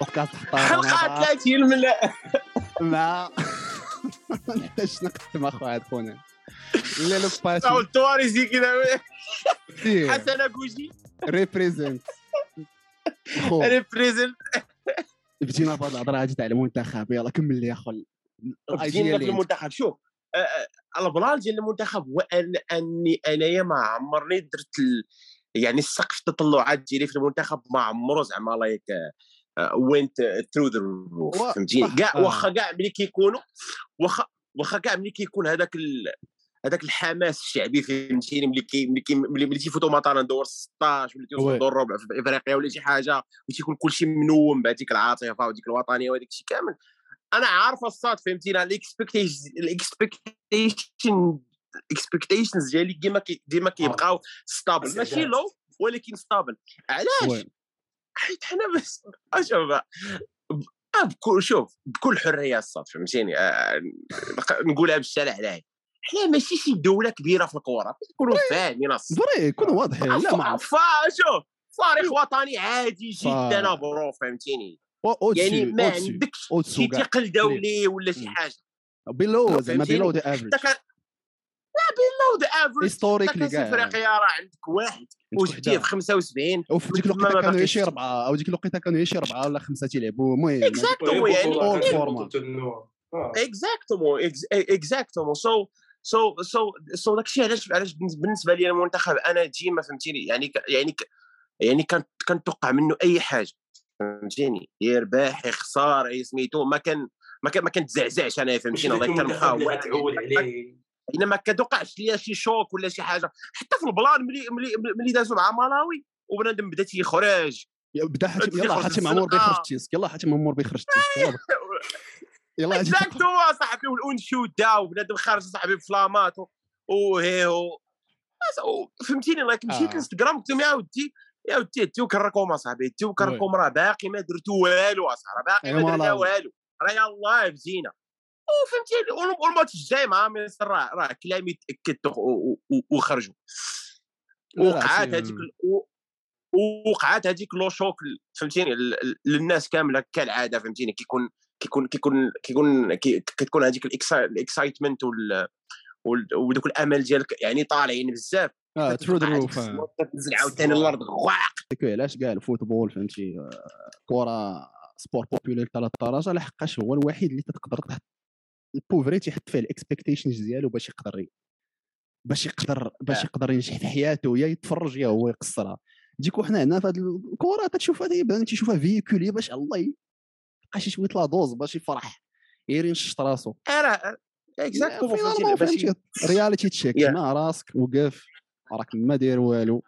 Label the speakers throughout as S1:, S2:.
S1: بودكاست حطام
S2: حلقه 30 من
S1: مع نحتاج نقسم مع خويا خونا لا لو
S2: او
S1: باتي
S2: التواريزي كذا
S1: سير
S2: حسن كوجي
S1: ريبريزنت خو
S2: ريبريزنت
S1: بدينا بهاد الهضره هادي تاع المنتخب يلا كمل لي اخو ال-
S2: جينا في
S1: ديالي.
S2: المنتخب شوف آه، آه، البلان ديال المنتخب هو ان اني انايا ما عمرني درت ال... يعني السقف التطلعات ديالي في المنتخب ما عمرو زعما آه، لايك وينت ثرو ذا روف
S1: وا-
S2: فهمتيني
S1: صح،
S2: كاع
S1: آه.
S2: واخا كاع ملي كيكونوا واخا واخا كاع ملي كيكون هذاك ال... هذاك الحماس الشعبي فهمتيني ملي كي ملي كي ملي ملي تيفوتوا مثلا دور 16 ولا تيوصلوا
S1: وي.
S2: دور ربع في افريقيا ولا شي حاجه وتيكون كلشي منوم بهذيك العاطفه وديك الوطنيه وهذاك الشيء كامل انا عارف الصاد فهمتينا الاكسبكتيشن الاكسبكتيشن الاكسبكتيشنز ديالي ديما كي- ديما كيبقاو ستابل ماشي لو ولكن ستابل علاش
S1: وي.
S2: حيت حنا بس شوف آه، بكل شوف بكل حريه الصاد فهمتيني آه، نق- نقولها بالشارع علاه حنا ماشي شي دوله كبيره في الكوره نكونوا فاهمين الصاد
S1: بري كون واضح إيه. لا ما عرفت. إيه.
S2: فا أه، شوف صارخ وطني عادي جدا
S1: صار.
S2: برو فهمتيني
S1: أو- أوتسي-
S2: يعني ما
S1: أوتسي.
S2: عندكش
S1: أوتسو
S2: شي
S1: كاع.
S2: ثقل دولي ولا شي
S1: إيه. مم.
S2: حاجه
S1: بيلو زعما
S2: فهمتيني؟
S1: بيلو ذا افريج
S2: حتى كان لا بيلو ذا افريج
S1: هيستوريكلي
S2: كاس
S1: كاع
S2: افريقيا راه عندك واحد وجبتيه في 75
S1: وفي ديك
S2: ما- ما
S1: الوقيته كانوا
S2: باقيش.
S1: شي اربعه او ديك الوقيته كانوا شي اربعه ولا خمسه تيلعبوا المهم
S2: اكزاكتومون يعني
S1: أول فورمة.
S3: Ah.
S2: Eh, اكزاكتومون اكزاكتومون سو سو سو سو داكشي علاش علاش بالنس- بالنسبه لي المنتخب انا ديما فهمتيني يعني ك- يعني ك- يعني كان كنتوقع منه اي حاجه فهمتيني يربح يخسر اي سميتو ما كان ما كان ما كنتزعزعش انا فهمتيني الله آه، كنبقى
S3: تعود عليه
S2: الا ما كتوقعش ليا شي شوك ولا شي حاجه حتى في البلان ملي ملي ملي دازوا مع مالاوي وبنادم بدا تيخرج
S1: بدا حاتم يلا
S2: تيخرج
S1: حاتم
S2: الزنقة.
S1: عمور بيخرج تيسك يلا حاتم عمور بيخرج تيسك يلا بخ- يلا أجي.
S2: اكزاكتو صاحبي والانشو دا وبنادم خارج صاحبي بفلامات و- وهيهو بس- و- فهمتيني لايك مشيت
S1: آه.
S2: للانستغرام قلت لهم يا ودي يا ودي اديو كركم اصاحبي اديو كركم راه باقي ما درتو والو اصاحبي راه باقي
S1: إيوا
S2: ما درنا
S1: والله.
S2: والو راه يلاه بزينا وفهمتيني وال- والماتش الجاي مع مصر راه راه كلامي تاكد وخرجوا
S1: لا، لا،
S2: وقعات
S1: شي-
S2: هذيك ال- و- وقعات هذيك لو شوك ال- فهمتيني ال- ال- للناس كامله كالعاده فهمتيني كيكون كيكون كيكون كيكون كي- كتكون هذيك الاكسايتمنت وال وال- ودوك الامل ديالك يعني طالعين بزاف
S1: اه ترو ذا
S2: كتوقع هاديك
S1: روف
S2: الصوت كتنزل عاوتاني الارض غواق
S1: علاش كاع الفوتبول فهمتي آه، كره سبور بوبولير ثلاث درجه لحقاش هو الوحيد اللي تقدر تحط البوفري تيحط فيه الاكسبكتيشنز ديالو باش يقدر ي- باش يقدر باش يقدر ينجح في حياته يا يتفرج يا هو يقصرها ديك وحنا هنا في هاد الكره تتشوف هذه بان تيشوفها فيكولي باش الله ي- يلقى شي شويه لا دوز باش يفرح يري ينشط راسو
S2: انا اكزاكتومون فهمتيني باش
S1: فهمتي رياليتي تشيك
S2: Yeah.
S1: مع راسك وقف راك ما داير والو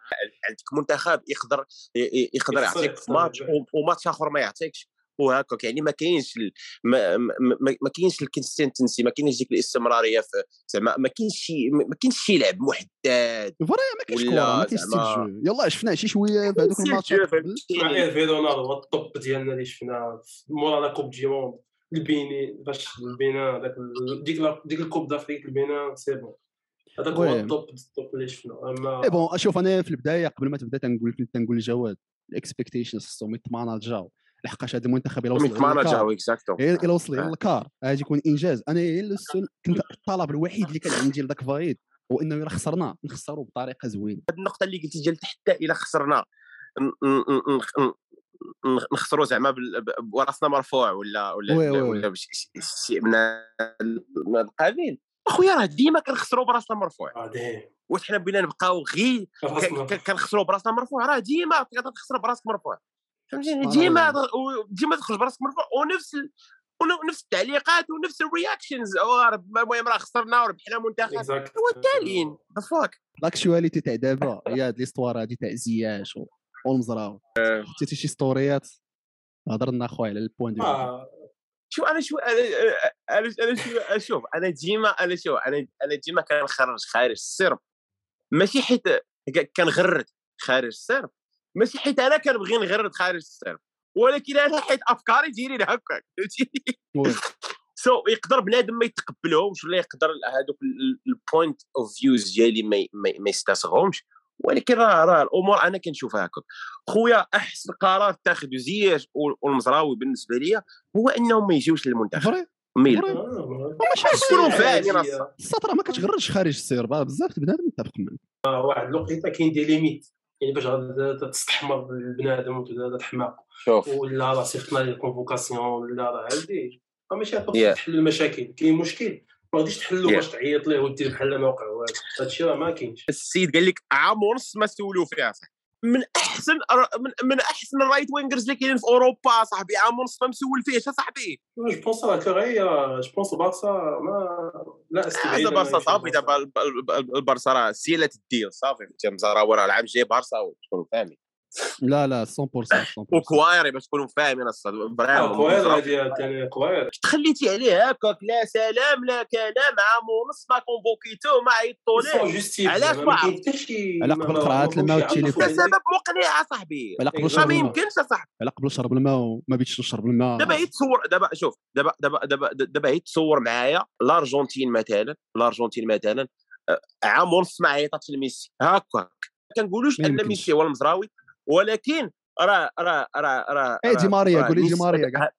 S2: عندك منتخب يقدر ي- ي- يقدر
S3: يخسر-
S2: يعطيك
S3: يخسر
S2: ماتش
S3: بالفعل.
S2: و- وماتش اخر ما يعطيكش وهكاك يعني ما كاينش ال- ما ما- ما- ما كاينش الكونسيستنسي ما كاينش ديك الاستمراريه في زعما ما كاينش شي ما ما كاينش شي لعب محدد
S1: فري ما كاينش
S2: ولا
S1: كره ما كاينش ستيل
S2: زعما-
S1: جو يلا شفناه شي شويه في هذوك الماتش
S2: فهمتيني؟
S3: عليه في رونالدو هو الطب ديالنا اللي شفنا مورا لا كوب دي موند البيني باش البينا داك ال- ديك لا- ديك الكوب دافريك البينا سي بون هذاك هو
S1: وي.
S3: الطب الطب اللي شفنا اما
S1: اي بون اشوف انا في البدايه قبل ما تبدا تنقول كنت تنقول لجواد الاكسبكتيشنز خصهم يتمانا جاو لحقاش هذا المنتخب الا وصل
S2: من
S1: غير
S2: مانجر
S1: للكار-
S2: اكزاكتو
S1: غير الا وصل غير
S2: آه.
S1: للكار غادي يكون انجاز انا غير السؤال- كنت الطلب الوحيد اللي كان عندي لذاك فايد هو انه الا خسرنا نخسروا بطريقه زوينه
S2: هاد النقطه اللي قلتي ديال حتى الا خسرنا ن- ن- ن- ن- ن- نخسروا زعما بال- ب- براسنا مرفوع ولا ولا
S1: وي- وي- وي.
S2: ولا, ولا بش- ش- شيء من ال- من هاد القبيل اخويا راه ديما كنخسروا براسنا مرفوع
S3: بعدين
S2: واش حنا بغينا نبقاو غير
S3: راسنا
S2: ك- ك- كنخسروا براسنا مرفوع راه ديما تقدر تخسر براسك مرفوع فهمتيني
S1: آه.
S2: ديما هاد- و- ديما تخرج براسك مرفوع ونفس ال- ون- نفس التعليقات ونفس الرياكشنز المهم راه خسرنا وربحنا منتخب
S3: Exact.
S2: هو التاليين فواك
S1: لاكشواليتي تاع دابا هي هاد ليستوار هادي تاع زياش و- والمزراوي حطيتي شي ستوريات هضرنا اخويا على البوان دو فيو.
S3: آه،
S2: شو انا شو انا انا انا شو شوف انا ديما انا شو انا انا ديما كنخرج خارج السرب ماشي حيت ك- كنغرد خارج السرب ماشي حيت انا كنبغي نغرد خارج السرب ولكن انا حيت افكاري ديالي هكاك فهمتيني
S1: وي.
S2: سو يقدر بنادم ما يتقبلهمش ولا يقدر هذوك البوينت اوف فيوز ديالي ما ي- ما ي- ما يستسغهمش ولكن راه راه الامور انا كنشوفها هكا خويا احسن قرار اتخذ زياش والمزراوي بالنسبه ليا هو انهم ما يجيوش للمنتخب
S1: فري
S2: ميل
S1: فري.
S3: آه،
S1: ما
S2: شكون
S1: شفتش
S2: فاهم
S3: هي-
S2: راه
S1: السطر ما كتغرش خارج السير بقى بزاف البنادم متفق معاك
S3: آه، واحد الوقيته كاين دي ليميت يعني باش غادا تستحمر البنادم وتبدا تحماق
S2: شوف
S3: ولا راه صيفطنا لي الكونفوكاسيون ولا راه عندي راه ماشي هكا
S2: Yeah.
S3: باش تحل المشاكل كاين مشكل ما غاديش تحلو
S2: Yeah.
S3: باش تعيط ليه ودير بحال ما وقع والو هادشي راه ما كاينش
S2: السيد قال لك عام ونص ما سولوا فيها صح من احسن من, من احسن الرايت وينجرز اللي كاينين في اوروبا صاحبي عام ونص ما مسول فيهش صاحبي
S3: جو بونس راك غير جو بونس بارسا ما لا
S2: هذا بارسا صافي دابا الب- الب- الب- البارسا راه سيلة الديل صافي فهمتي مزراوي راه العام الجاي بارسا تكونوا فاهمين
S1: لا لا 100% 100%
S2: وكوايري باش تكونوا فاهمين الصاد
S3: كوير
S2: براهم
S3: هادي ثاني كوير
S2: تخليتي عليه هكاك لا سلام لا كلام عام ونص ما كونفوكيتو ما عيطوليه علاش
S3: علاش ما
S2: واعر؟
S3: كاين حتى شي
S1: على قبل قراءة الماء والتليفون.
S2: حتى سبب مقنع صاحبي
S1: على قبل
S2: ما
S1: شرب
S2: ما
S1: الماء
S2: يمكنش صاحبي
S1: على قبل شرب الماء وما بيتش نشرب الماء
S2: دابا هي تصور دابا شوف دابا دابا دابا دابا هي تصور معايا الارجنتين مثلا الارجنتين مثلا آه، عام ونص ما عيطاتش لميسي هاكاك ما كنقولوش
S1: ما
S2: ان
S1: يمكنش.
S2: ميسي هو المزراوي ولكن راه راه راه راه
S1: اي إيه، دي
S2: راه-
S1: ماريا
S2: راه
S1: قولي دي
S2: ميسي-
S1: ماريا إيه، كاع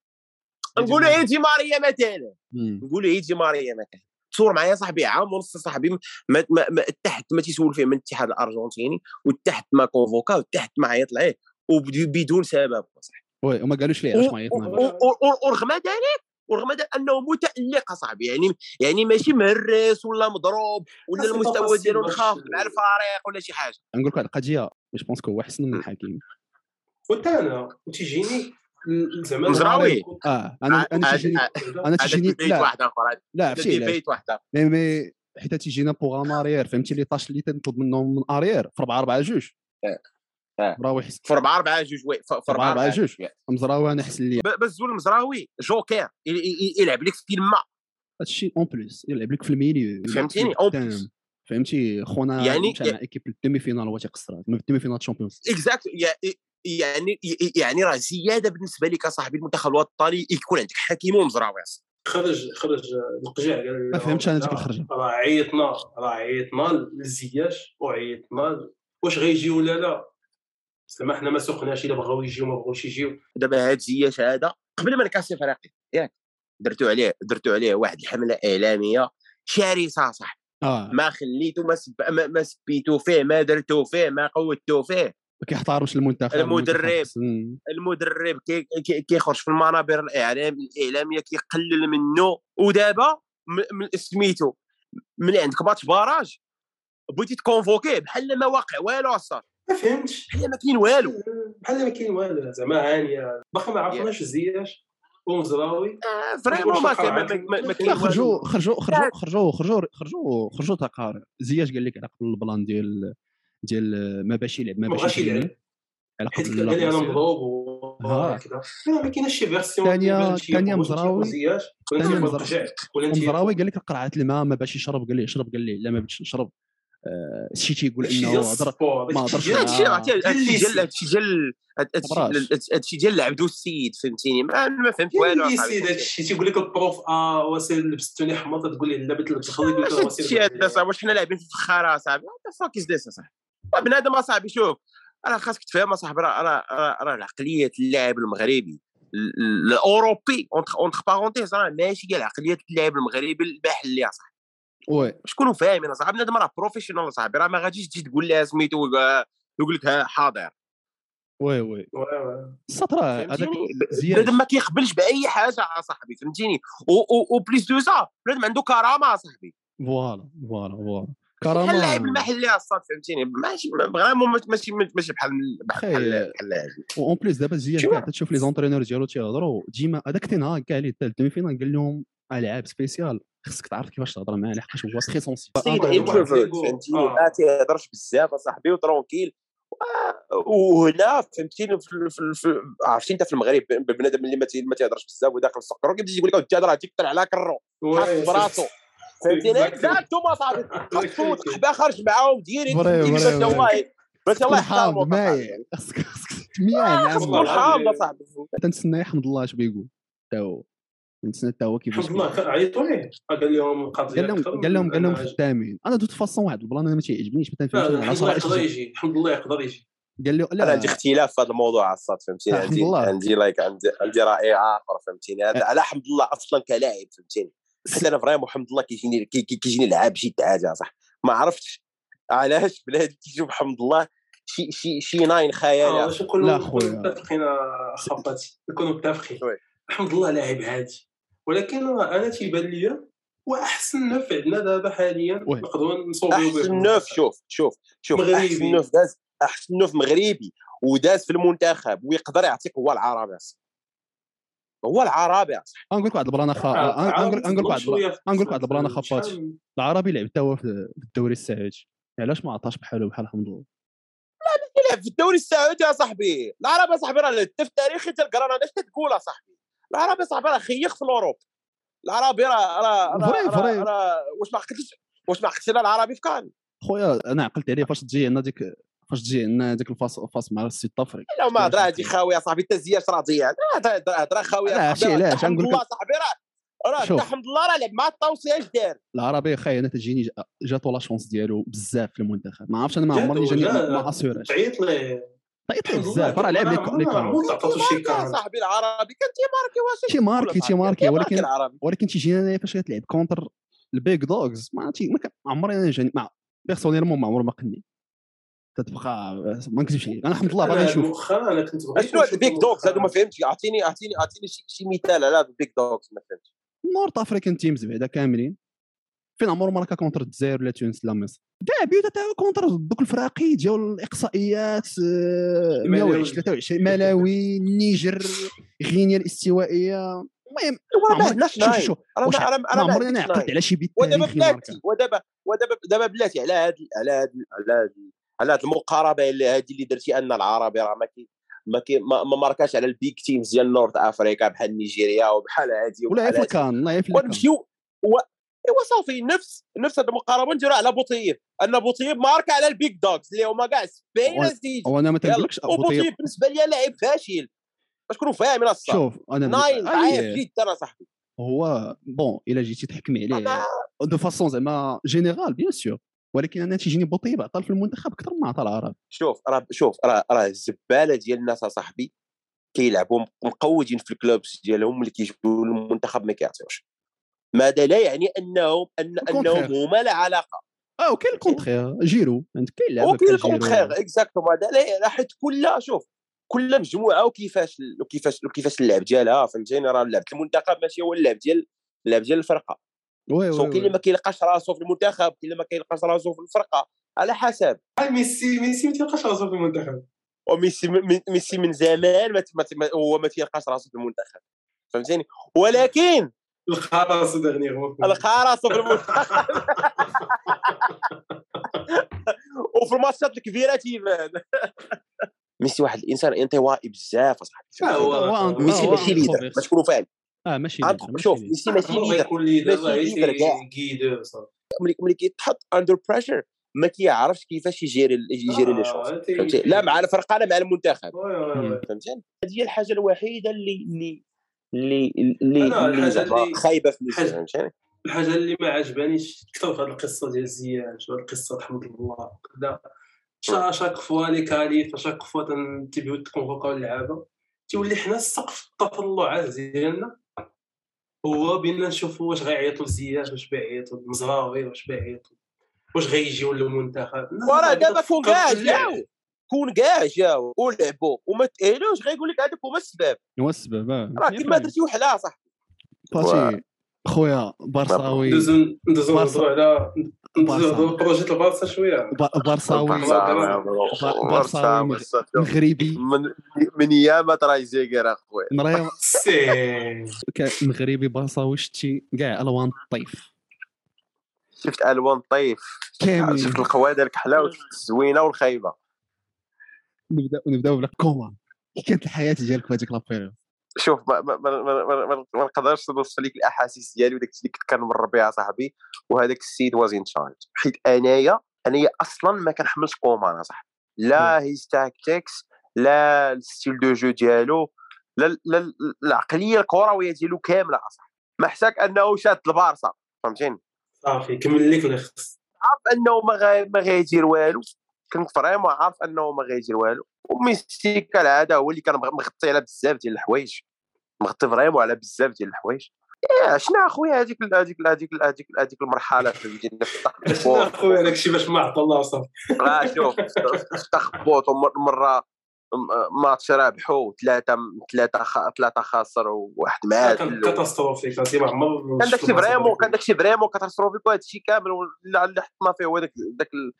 S2: نقولوا اي دي ماريا مثلا
S1: مم.
S2: نقولوا اي دي ماريا مثلا تصور معايا صاحبي عام ونص صاحبي ما ما ما تحت ما تيسول فيه من الاتحاد الارجنتيني وتحت ما كونفوكا وتحت ما عيط عليه وبدون سبب صاحبي
S1: وي وما قالوش ليه علاش ما عيطنا
S3: و-
S2: و- و- ورغم ذلك ورغم ذلك انه متالق صاحبي يعني يعني ماشي مهرس ولا مضروب ولا
S3: بس
S2: المستوى
S3: تفاصيل
S2: ديالو
S3: باش-
S2: انخفض مع الفريق ولا شي حاجه
S1: نقول لك واحد القضيه جو بونس هو احسن من الحكيم
S3: وحتى انا وتيجيني ال- زعما
S2: مزراوي.
S1: اه انا انا
S2: عاد-
S1: تيجيني
S2: عاد-
S1: انا
S2: هذا
S1: تيجيني
S2: ديبيت
S1: لا
S2: واحد اخر هذا
S1: لا فشي علاش
S2: ديبيت واحد اخر
S1: مي مي حيت تيجينا بوغام اريير فهمتي لي طاش اللي تنطلب منهم من اريير في 4 4 جوج
S2: آه، آه.
S1: مراوي حس
S2: في 4 4 جوج وي في 4
S1: أربعة- أربعة
S2: 4
S1: جوج. مزراوي انا حس لي
S2: بس زول المزراوي جوكير ي- ي- ي- يلعب لك في الماء
S1: هادشي اون بليس يلعب لك في الميليو
S2: فهمتيني؟ أون بليس.
S1: فهمتي خونا
S2: يعني-
S1: يعني مع ايكيب الديمي فينال هو تيقصر من الديمي فينال تشامبيونز
S2: اكزاكت يعني ي- يعني راه زياده بالنسبه لك صاحبي المنتخب الوطني يكون عندك حكيم ومزراوي أصاحبي.
S3: خرج خرج القجع قال
S1: ما فهمتش أنا ديك الخرجة.
S3: راه عيطنا راه عيطنا للزياش وعيطنا ل- واش غيجي ولا لا زعما حنا ما سوقناش الا بغاو يجيو ما بغاوش يجيو
S2: دابا هاد زياش هذا قبل ما نكاسي فريقي ياك درتو عليه درتو عليه واحد الحمله اعلاميه شرسه صح
S1: اه
S2: ما خليتو ما, سب... ما, ما سبيتو فيه ما درتو فيه ما قوتو فيه
S1: ما كيحتارمش المنتخب
S2: المدرب.
S1: المنتخب خصن-
S2: المدرب كي- كي- كيخرج في المنابر الاعلام الاعلاميه كيقلل منه ودابا م- من سميتو ملي عندك ماتش باراج بغيتي تكونفوكيه بحال ما واقع والو اصاحبي
S3: ما فهمتش
S2: بحال ما كاين والو
S3: بحال ما كاين والو زعما هانيه باقي ما عرفناش الزياش ومزراوي
S2: آه، فريمون ما كاين ما- ما- ما كاين
S1: لا
S3: إيوا.
S1: خرجوا خرجوا خرجوا خرجوا خرجوا خرجوا خرجوا تقارير زياش قال لك على قبل البلان ديال ديال ما باش يلعب ما
S3: ما
S1: باش
S3: بغاش يلعب
S1: يلعب على
S3: حيت
S1: قبل
S3: قال لي انا
S1: لا-
S3: مضروب
S1: ها.
S3: وكذا ما كايناش شي فيرسيون
S1: ثانية-
S3: اللي بان شي
S1: ثانية
S3: يقول شي
S1: مزراوي.
S3: زياش ولا
S1: ثانية
S3: انت
S1: مزراوي.
S3: القجع ولا انت
S1: المزراوي قال لك قرعه الماء ما باش يشرب قال لي يشرب قال لي لا ما باش نشرب آه، شي تيقول انه هضر ما هضرش مع-
S2: هادشي هادشي
S3: اللي
S2: ديال
S3: سي-
S2: هادشي ديال
S1: براش.
S2: هادشي ديال العبد والسيد فهمتيني ما أنا ما فهمت والو
S3: اللي
S2: أصاحبي.
S3: سيد يعني هادشي تيقول لك البروف اه وسير لبستوني حمار تقول لي لا بنت لبس خليك
S2: واش هادشي هذا صاحبي واش حنا لاعبين في الفخاره صاحبي وات فاك از ذيس صاحبي طيب، بنادم اصاحبي شوف راه خاصك تفهم اصاحبي راه راه راه- راه العقليه اللاعب المغربي ال- ال- الاوروبي اونتخ بارونتيز راه ماشي هي عقليه اللاعب المغربي المحلي اصاحبي
S1: وي
S2: شكونوا فاهمين اصاحبي بنادم راه بروفيشنال اصاحبي راه ما غاديش تجي تقول لها سميتو آه، يقول لك ها، حاضر
S1: وي وي السطر هذاك
S2: فهمتيني
S1: زياش
S2: بنادم ما كيقبلش باي حاجه اصاحبي فهمتيني وبليس دو سا بنادم عنده كرامه اصاحبي
S1: فوالا فوالا فوالا
S2: بحال اللاعب
S1: كرامه
S2: المحلي اصاحبي فهمتيني ماشي فريمون ماشي ماشي بحال بحال
S1: خير.
S2: بحال اللاعب
S1: اون بليس دابا زياش
S2: شو؟
S1: كاع تشوف لي زونترينور ديالو تيهضروا ديما هذاك تنهار كاع اللي حتى الدومي فينال قال لهم العاب سبيسيال خصك تعرف كيفاش تهضر معاه لحقاش هو سخي سونسي
S3: سيد
S2: طيب،
S3: واحد
S2: شوف،
S3: تيقول-
S2: فهمتيني
S3: آه.
S2: ما تيهضرش بزاف اصاحبي وترونكيل و- وهنا فهمتيني في- في- في- عرفتي انت في المغرب بنادم اللي ما تي- ما تيهضرش بزاف وداخل السكر وكيبدا يقول لك "أو الجاد راه تيك طلع على كرو حاس براسو فهمتيني
S3: Exactly.
S2: اكزاكتوم اصاحبي خاصو تحبا خارج معاهم ديري
S1: فري-
S2: ديري
S1: فري-
S2: باش
S1: فري.
S2: الله باش الله يحفظهم
S1: حامض
S2: أصاحبي.
S1: ماي خصك خصك تميع
S2: خاص
S1: نعم
S2: تكون
S3: والله.
S2: حامض اصاحبي
S1: تنتسنى يحمد الله اش بيقول حتى هو نتسنى حتى هو كيفاش
S3: حفظ الله كان عيطوا ليه قال لهم قضيه
S1: قال لهم
S3: أكثر من
S1: قال لهم قال لهم
S3: أنا عايش.
S1: خدامين انا دوت فاصون واحد البلان انا ما تيعجبنيش ما
S3: لا،
S1: تنفهمش
S3: لا،
S1: على
S3: الحمد لله يقدر
S1: راه
S3: يجي الحمد لله يقدر يجي
S1: قال له
S2: انا
S1: لا
S2: عندي اختلاف في هذا الموضوع عصات فهمتيني
S1: الحمد
S2: عندي
S1: لله.
S2: عندي لايك عندي عندي راي اخر فهمتيني هذا على حمد الله اصلا كلاعب فهمتيني حتى انا فريمون حمد الله كيجيني كي- كي- كيجيني لعاب شي حاجه صح ما عرفتش علاش بلاد كيشوف حمد الله شي شي شي ناين
S3: آه،
S2: خيال
S3: باش نكونوا
S1: لا
S3: نكونوا
S1: خويا.
S3: متفقين خبات نكونوا متفقين
S2: وي.
S3: الحمد لله لاعب هادي ولكن راه انا تيبان ليا واحسن نوف عندنا دابا حاليا
S1: وي.
S3: نقدروا نصوبيو به
S2: احسن نوف شوف شوف شوف احسن
S3: مغربي.
S2: نوف داز احسن نوف مغربي وداز في المنتخب ويقدر يعطيك هو العربي أصاحبي. هو العربي أصاحبي.
S1: غنقول لك واحد البلان خا غنقول لك واحد البلان أنقول لك واحد البلانة خبات. العربي لعب تا هو في في الدوري السعودي علاش ما عطاش بحاله بحال الحمد لله
S2: يلعب في الدوري السعودي يا صاحبي العرب يا صاحبي راه حتى في تاريخ تلقى راه علاش تتقول يا صاحبي العرب يا صاحبي راه خيخ في الاوروب العربي راه راه
S1: فري-
S2: راه-
S1: فري.
S2: راه راه- واش ما عقلتش واش ما عقلتش على العربي في كان
S1: خويا انا عقلت عليه فاش تجي عندنا ديك فاش تجي عندنا ديك الفاس فاس مع السيد طفري
S2: لا ما هضره
S1: صراحة.
S2: هادي خاويه يا صاحبي حتى الزياش راه ضيع هضره هضره خاويه
S1: لا،
S2: يا
S1: شي
S2: صاحبي
S1: علاش، غنقول
S2: راه حتى حمد
S1: لك-
S2: الله صاحبي راه راه
S1: شوف.
S2: حتى حمد الله راه لعب مع الطوسي اش دار
S1: العربي خاي انا تجيني جا- جاتو لا شونس ديالو بزاف في المنتخب ما عرفتش انا ما
S3: جاتو،
S1: عمرني جاني
S3: لا،
S1: ما اسيوراش
S3: تعيط ليه
S1: طيط ليه بزاف راه لعب لي كو- لي كورنر.
S3: عمرو تعطاتو شي
S2: تيماركي يا
S3: كارت
S2: صاحبي العربي كان تيماركي واش
S1: شي ماركي،
S2: تيقول يا صاحبي؟
S1: تيماركي،
S2: تيماركي
S1: ولكن-
S2: العربي
S1: ولكن تيجيني انا فاش كتلعب كونتر البيج دوغز ما تي ما كان- ما عمري انا جاني ما بيرسونيلمون ما عمرو ما قني تتبقى ما نكذبش عليك انا الحمد لله باغي
S3: أنا
S1: نشوف
S3: مؤخرا انا كنت بغيت
S2: شنو هاد
S3: نشوف
S2: البيك دوغز هادو ما
S3: مؤخراً.
S2: فهمتش اعطيني اعطيني اعطيني شي شي مثال على هاد البيك دوغز ما فهمتش
S1: نورت افريكان تيمز بعدا كاملين فين عمرو ماركا كونتر الجزائر ولا تونس لا مصر كاع بيوت تاعو كونتر دوك الفراقي جاو الاقصائيات آه،
S3: الملاوي.
S1: 120 23 ملاوي النيجر غينيا الاستوائيه المهم
S2: هو راه ما
S1: عمرك-
S2: عندناش
S1: نعم، شوف- شوف-
S2: ناين.
S1: شوف. نعم،
S2: انا
S1: واش-
S2: انا
S1: ما
S2: انا ما
S1: عمري انا
S2: عنديش
S1: عقلت
S2: ناين.
S1: على شي بيت
S2: ودابا
S1: تاريخي
S2: بلاتي
S1: ماركا
S2: ودابا ودابا دابا بلاتي على هاد على هاد على هاد على هاد المقاربه اللي هادي اللي درتي ان العربي راه ما كي ما كي ما, ما ماركاش على البيك تيمز ديال نورت افريكا بحال نيجيريا وبحال هادي
S1: ولا
S2: وبحال
S1: في
S2: هادي.
S1: الكان لا في الكان
S2: ونمشيو و... ايوا صافي نفس نفس هاد المقاربه نديروها على بوطيب ان بوطيب ماركه على البيك دوغز اللي هما
S1: وأنا-
S2: كاع سبينز ديجي
S1: وانا ما
S2: يلا.
S1: تنقولكش أبو طيب
S2: وبوطيب بالنسبه لي لاعب فاشل باش تكونوا فاهمين الصح
S1: شوف انا
S2: ناين
S1: بالنسبة-
S2: ضعيف
S1: أيه،
S2: جدا صاحبي
S1: هو بون الا جيتي تحكمي عليه دو فاسون زعما جينيرال بيان سور ولكن انا تيجيني بوطيب عطى في المنتخب اكثر ما عطى العرب
S2: شوف راه شوف راه راه الزباله ديال الناس صاحبي كيلعبوا مقوجين في الكلوبس ديالهم اللي كيجيو للمنتخب ما كيعطيوش ماذا لا يعني انهم ان
S1: الكونتخير.
S2: انهم هما لا علاقه
S1: اه وكاين الكونتخير جيرو عندك كاين لعبه بتاع
S2: وكاين
S1: جيرو.
S2: الكونتخير اكزاكتوم هذا لا يعني حيت كل شوف كل مجموعه وكيفاش وكيفاش وكيفاش اللعب ديالها فهمتيني راه اللعب ديال المنتخب ماشي هو اللعب ديال اللعب ديال الفرقه
S1: وي
S2: سو
S1: وي
S2: كاين اللي
S1: وي.
S2: ما كيلقاش راسو في المنتخب كاين اللي ما كيلقاش راسو في الفرقه على حسب
S3: آه، ميسي ميسي ما تيلقاش راسو في المنتخب
S2: وميسي من- ميسي من زمان ما ت- ما ت- ما- هو ما تيلقاش راسو في المنتخب فهمتيني ولكن
S3: لقى راسو دغنيغمون
S2: لقى راسو في المنتخب وفي الماتشات الكبيره تيبان ميسي واحد الانسان انطوائي بزاف
S3: آه،
S2: اصاحبي
S3: هو-
S1: هو-
S2: ميسي
S1: هو
S2: ماشي
S1: عنده
S2: ليدر
S1: خوفيس.
S2: باش تكونوا فاهم
S1: اه ماشي
S2: عندك-
S1: ليدر، ماشي
S2: شوف
S1: ليدر.
S2: ميسي ماشي
S3: هو
S2: ليدر
S3: يكون ليدر
S2: ماشي
S3: راه
S2: ليدر كاع.
S3: كيدير صافي
S2: ملي ملي كيتحط اندر بريشر ما كيعرفش كيفاش يجيري يجيري لي شوز
S3: آه، تي-
S2: فهمتي لا مع الفرقه لا مع المنتخب
S3: وي، وي، وي.
S2: فهمتني هذه هي الحاجه الوحيده اللي اللي اللي اللي,
S3: أنا
S2: اللي
S3: الحاجة
S2: زعما
S3: اللي-
S2: خايبه في ميسي
S3: الحاجة-
S2: فهمتني
S3: الحاجه اللي ما عجبانيش كثر في هذه القصه ديال زياش وهاد القصه حمد الله وكذا شا- شاك فوا لي كاليف شاك فوا تن- تيبيو تكونفوكاو اللعابه تيولي حنا سقف التطلعات ديالنا هو بينا نشوفوا واش غيعيطوا لزياش واش بيعيطوا المزراوي واش بيعيطوا واش غيجيو للمنتخب
S2: وراه دابا كون كاع جاو كون كاع جاو ولعبوا وما تأهلوش غيقول لك هذاك هما السباب
S1: هو السبب اه
S2: راه كيما درتي وحلا صح
S1: فاتي خويا برصاوي
S3: ندوزو ندوزو
S1: بارسا.
S3: نهضروا على
S1: بارسا.
S3: ندوزو نهضروا على بروجيت البارسا شويه
S1: ب- برصاوي
S3: برصاوي.
S1: مغربي
S4: من من ياما تراي زيكر اخويا
S1: مريم
S3: سي
S1: ك- مغربي برصاوي شتي كاع الوان الطيف
S4: شفت الوان طيف
S1: كامل
S4: شفت القواده الكحله وشفت الزوينه والخايبه
S1: نبدا نبداو بلا كوما كي كانت الحياه ديالك في هذيك لابيريود
S4: شوف ما ما ما ما- ما- ما- ما نقدرش نوصف لك الاحاسيس ديالي وداك الشيء اللي كنت كنمر بها صاحبي وهذاك السيد واز ان شارج حيت انايا انايا اصلا ما كنحملش كومان صاحبي لا هيز تاكتيكس لا الستيل دو جو ديالو لا لا- لا العقليه الكرويه ديالو كامله اصاحبي ما حساك انه شاد البارسا فهمتيني
S3: صافي كمل لك اللي خص
S4: عارف انه ما غا- ما غيدير والو كنت فريمون عارف انه ما غيدير والو وميسي كالعاده هو اللي كان مغ- مغطي على بزاف ديال الحوايج مغطي فريمون على بزاف ديال الحوايج إيه، شنو اخويا هذيك هذيك هذيك هذيك هذيك المرحله في الجنة في التخبط
S3: اخويا داك الشيء باش ما عطى الله صافي
S4: راه شوف في التخبط ومره م- ماتش رابحوا ثلاثه ثلاثه ثلاثه خاسر وواحد معاد
S3: كان
S4: كان
S3: كاتاستروفي كان ما عمر
S4: داك الشيء فريمون كان داك الشيء فريمون كترسلوا فيك هذا الشيء كامل ولا- اللي حطنا فيه هو داك داك ال-